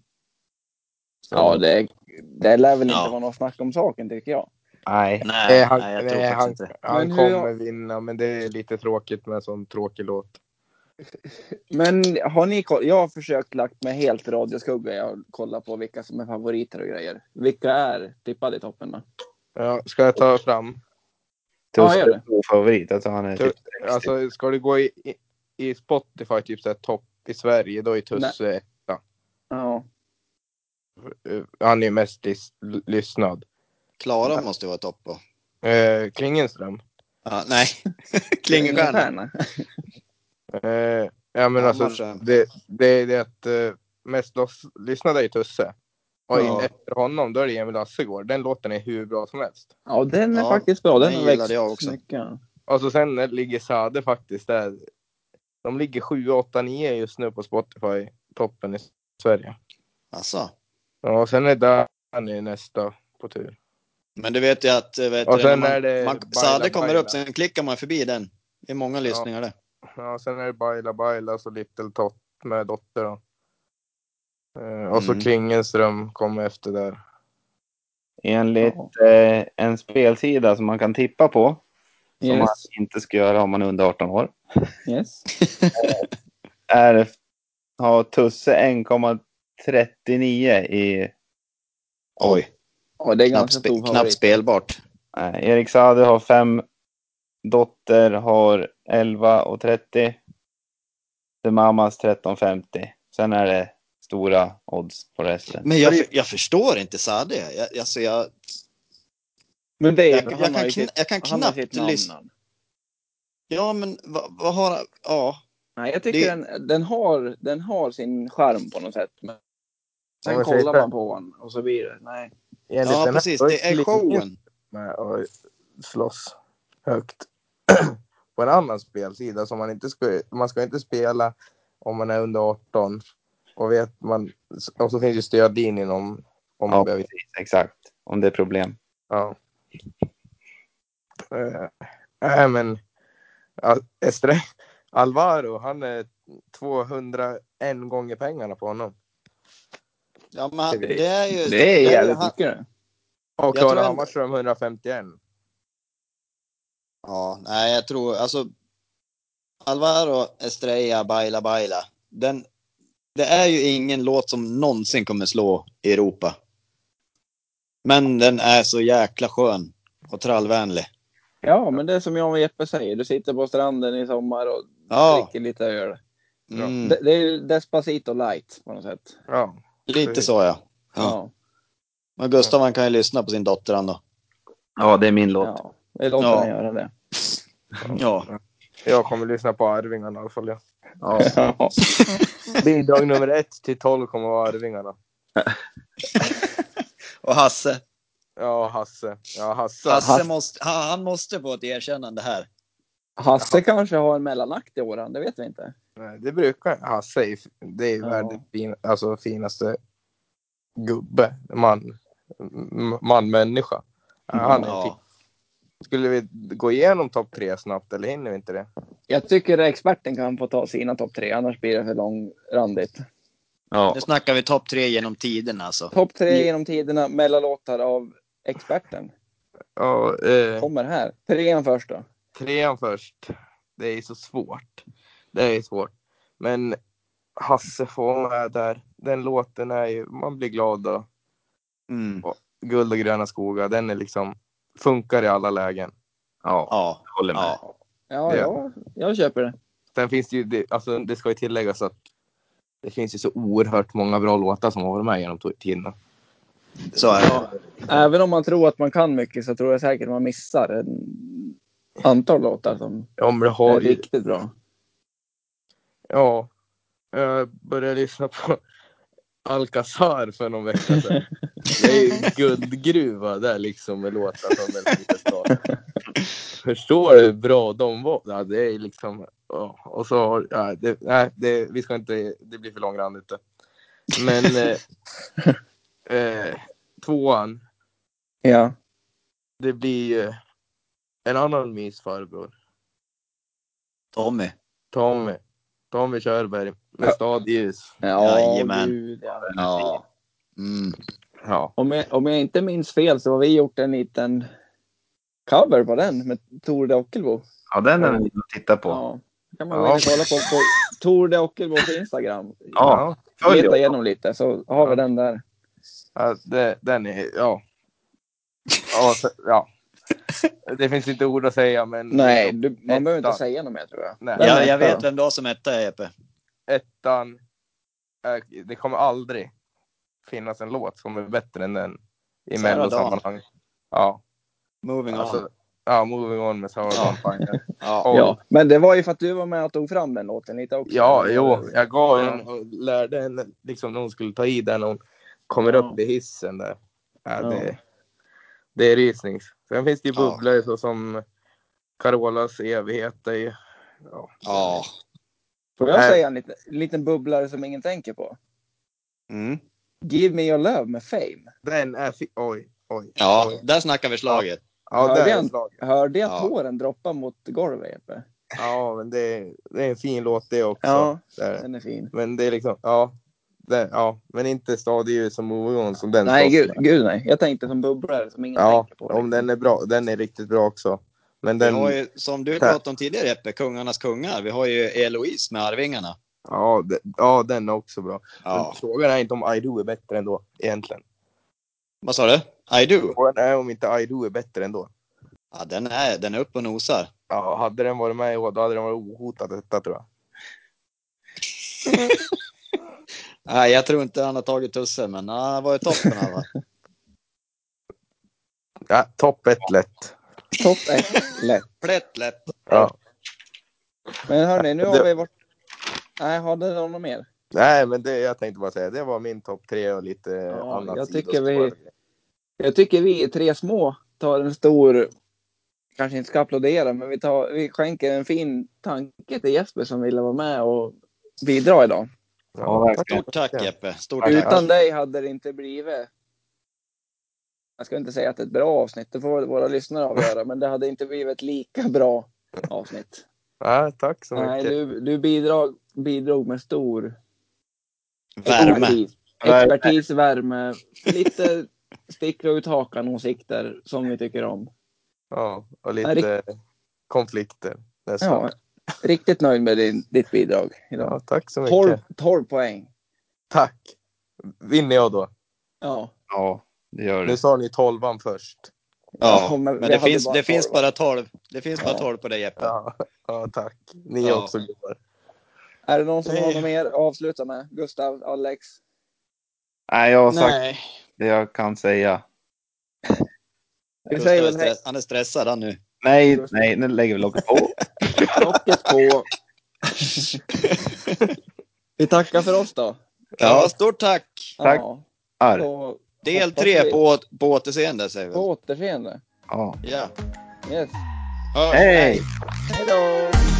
Ja, det, det lär väl inte
Ja.
vara något snack om saken tycker jag.
Nej.
Nej,
Eh, han-
nej, jag tror
nej,
faktiskt
han-
inte.
Han
Men hur
kommer
jag-
vinna, men det är lite tråkigt med en sån tråkig låt.
Men har ni koll? Jag har försökt lagt mig helt i radioskugga. Jag har kollat på vilka som är favoriter och grejer. Vilka är tippade i toppen då?
Ja, ska jag ta fram?
Ja,
Tusse
gör
är
det.
stor favorit. Alltså han är
Tu-
typ 60.
Alltså, ska du gå i, i- i Spotify, typ såhär topp i Sverige, då är Tusse,
Ja.
eh, han är ju mest lys, lyssnad.
Klara måste ju vara topp på.
Eh, Klingenström.
Ja, nej, Klingenstjärna.
Eh, ja, men alltså,
Hammarström.
det, det är det att eh, mest loss, lyssnade är Tusse. Och
Ja.
efter honom, då är det Emil Assegård. Den låten är hur bra som helst.
Ja, den är
Ja,
faktiskt bra. Den,
den
har
gillade
växt
jag också.
mycket.
Och så sen ligger Sade faktiskt där. De ligger 7, 8, 9 just nu på Spotify, toppen i Sverige.
Alltså.
Ja, och sen är Danny nästa på tur.
Men du vet ju att eh, vet
Och
du,
sen
när
är det
man,
Baila
Sade kommer
Baila.
upp, sen klickar man förbi den. Det är många lyssningar det.
Ja, sen är det Baila Baila, så Little Tot med Dotter. Då. Eh, och så
Mm.
Klingenström kommer efter där.
Enligt eh, en spelsida som man kan tippa på, som
Yes.
man inte ska göra om man är under 18 år,
yes.
är, har Tusse 1,39 i...
Oj,
Ja, det är
knappt,
ganska stor
spe,
favorit.
knappt spelbart.
Nej, Erik Saade har 5. Dotter har 11,30. The Mamas 13,50. Sen är det stora odds på resten.
Mm.
Men jag, jag förstår inte Sade. Jag, alltså jag,
Men det är,
jag,
han
jag,
har
kan,
ju
kn,
sitt-
jag kan
han har sitt
knappt
namn.
lyssna. Ja, men vad, vad har han? Ja.
Nej, jag tycker den, den, har, den har sin charm på något sätt. Men sen
Om jag
kollar
säger så-
man på den och så blir det nej.
enligt
ja,
den här,
precis.
då
Det är
Klingenström
showen.
Med och slåss högt. på en annan spelsida som man inte ska, man ska inte spela om man är under 18. Och, vet man, och så finns ju stödlinjen om, om man
Ja,
behöver.
precis. Exakt. Om det är problem.
Ja. Eh, Nej, men Al- Estre, Alvaro, han är 201 gånger pengarna på honom.
Ja, men han, det är ju...
Det är
ju
jävligt
han-
mycket det.
Och
tror
Klara
ändå-
Hammarström 151.
Ja, nej, jag tror alltså. Alvaro Estrella Baila Baila. Den, det är ju ingen låt som någonsin kommer slå i Europa. Men den är så jäkla skön och trallvänlig.
Ja, men det är som jag och Jeppe säger. Du sitter på stranden i sommar och
Ja.
dricker lite öl.
Mm,
Det, det är ju Despacito light på något sätt.
Ja.
lite så ja.
Ja.
Men Gustav han kan ju lyssna på sin dotter han då.
Ja, det är min låt.
ja. Det låter
Ja.
ja. göra det.
Ja.
Jag kommer lyssna på Arvingarna i alla fall. Ja.
Ja.
Ja.
Bidrag nummer 1 till 12 kommer vara Arvingarna.
Och Hasse.
Ja, Hasse. Ja, Hasse.
Hasse måste, han, han måste få ett erkännande här.
Hasse kanske har en mellanakt i år, han, det vet vi inte.
Nej, det brukar Hasse. är- Det är ju
Ja.
världens fin, alltså, finaste gubbe. Man, m- man-människa. Ja, han är fin.
Ja.
Skulle vi gå igenom topp tre snabbt eller hinner vi inte det?
Jag tycker experten kan få ta sina topp tre, annars blir det för långrandigt.
Ja.
Nu snackar vi topp tre genom tiden alltså.
Topp tre genom tiderna, mellanlåtar av experten.
Ja, eh,
Kommer här. Trean först då.
trean först. Det är så svårt. Det är svårt. Men Hasse får vara med där. Den låten är ju, man blir glad då.
Mm.
Guld och gröna skogar, den är liksom, funkar i alla lägen.
ja,
Ja.
jag håller med.
ja.
Ja,
Ja.
ja, jag köper det.
Sen finns det ju, det, alltså det ska ju tilläggas att det finns ju så oerhört många bra låtar som har varit med genom to- tiderna.
Så är det.
Även om man tror att man kan mycket så tror jag säkert man missar ett antal låtar som
Ja, men det
är
har ju,
riktigt bra.
ja. Jag började lyssna på Alcazar för någon vecka sedan. Det är ju en guldgruva där liksom med låtar från den lilla staden. Förstår du hur bra de var? Ja, det är liksom, ja. och så har, ja, det, nej, det, vi ska inte, det blir för långrandigt. det. Men eh, eh, tvåan,
Ja.
Det blir ju en annan mys farbror.
Tommy.
Tommy. Tommy Körberg med stadljus.
Jajamän.
gud, ja.
Ja. Mm.
Ja.
Om jag, om jag inte minns fel så har vi gjort en liten cover på den med Tord Ockelbo.
ja, den är vi att titta på.
Ja. kan man gå in och kolla på, på Tord Ockelbo på Instagram.
Ja. Följ
Leta
oss.
igenom lite så har vi den där.
ja det, den är, ja. Ja, så, ja. Det finns inte ord att säga men.
Nej, du, man
Ettan.
behöver inte säga något mer tror jag.
Nej.
Den
Ja,
är
jag
etta,
vet vem du har som etta, Epe.
Ettan. eh, Det kommer aldrig finnas en låt som är bättre än den. I
Sarah
mellosammanhang. Ja.
Moving on.
Alltså, ja, Moving On med Sarah
Ja.
Dawn.
Ja.
Och-
Ja, men det var ju för att du var med och tog fram den låten lite också.
Ja,
Eh,
jo, jag gav henne och lärde henne liksom när hon skulle ta i den när hon kommer
Ja.
upp i hissen där. Ja,
Ja.
det, det är rysnings. Sen finns det ju
Ja.
bubblor så som Carolas evighet. Är ju, ja.
ja.
Får jag
Nej.
säga en liten, liten bubblare som ingen tänker på?
Mm.
Give me your love med Fame.
Den är fi- Oj, oj.
Ja,
oj.
där snackar vi slaget.
Ja,
Hörde
det
jag
är
en-
slaget.
Hörde jag
Ja.
tåren droppa mot golvet, Jeppe?
Ja, men det är, det är en fin låt det också.
Ja,
Det är det.
den är fin.
Men det är liksom, ja. Det, ja, men inte stadig som Moving On som den.
Nej,
låten
gud,
är.
gud nej. Jag tänkte som bubblare som ingen
Ja,
tänker på.
om den är bra. Den är riktigt bra också. Men den,
Vi har ju, som du pratade om tidigare Eppe, Kungarnas kungar. Vi har ju Eloise med Arvingarna.
Ja, det, ja, den är också bra.
Ja.
Men frågan är inte om I do är bättre ändå, egentligen.
Vad sa du? I do?
Frågan är om inte I do är bättre ändå.
Ja, den är, den är uppe och nosar.
Ja, hade den varit med i år, då hade den varit ohotad detta tror jag.
Nej, jag tror inte han har tagit tussen, men ah, han var i toppen han va?
Ja, topp ett lätt.
Topp ett, lätt.
Plätt lätt.
Ja.
Men hörni, nu
Det-
har vi varit... Nej, hade någon något mer?
Nej, men det, jag tänkte bara säga, det var min topp tre och lite
Ja,
annat.
jag tycker
sidospår.
Jag tycker vi tre små tar en stor, kanske inte ska applådera, men vi, tar, vi skänker en fin tanke till Jesper som ville vara med och bidra idag.
Ja,
Ja,
verkligen.
Stort tack Jeppe. Stort
Tack.
tack.
Utan dig hade det inte blivit, jag ska inte säga att det är ett bra avsnitt, det får våra lyssnare avgöra, men det hade inte blivit ett lika bra avsnitt.
ja, tack så mycket.
Nej, du, du bidrog, bidrog med stor
Värme.
expertis, expertis värme, lite sticka ut hakan åsikter som vi tycker om.
Ja, och lite
Nej,
konflikter. Nästan. Ja.
Ja, riktigt nöjd med din, ditt bidrag idag.
ja, tack så mycket.
12, 12 poäng.
Tack. Vinner jag då?
Ja.
Ja, det gör
Nu
det.
sa ni tolvan först.
Ja,
men vi
men det
hade
finns,
bara
det finns
tolv.
bara 12. Det finns bara
Ja.
12 på dig Jeppe.
Ja, ja tack. Ni
Ja.
också gubbar.
Är det någon som har
Nej.
något mer att avsluta med? Gustav, Alex?
Nej, jag har sagt
Nej.
det jag kan säga.
Vi
Gustav
säger
är
väl hej,
stress, han är stressad han nu.
Nej, nej, nu lägger vi locket på.
locket på. Vi tackar för oss då.
Ja, stort tack!
Tack.
Ja,
Här.
så
Del
Hoppas
tre
vi-
på, å- på återseende säger vi.
哦
på återseende.
Ja.
Ja.
Yes.
Hör-
Hej!
Hej då!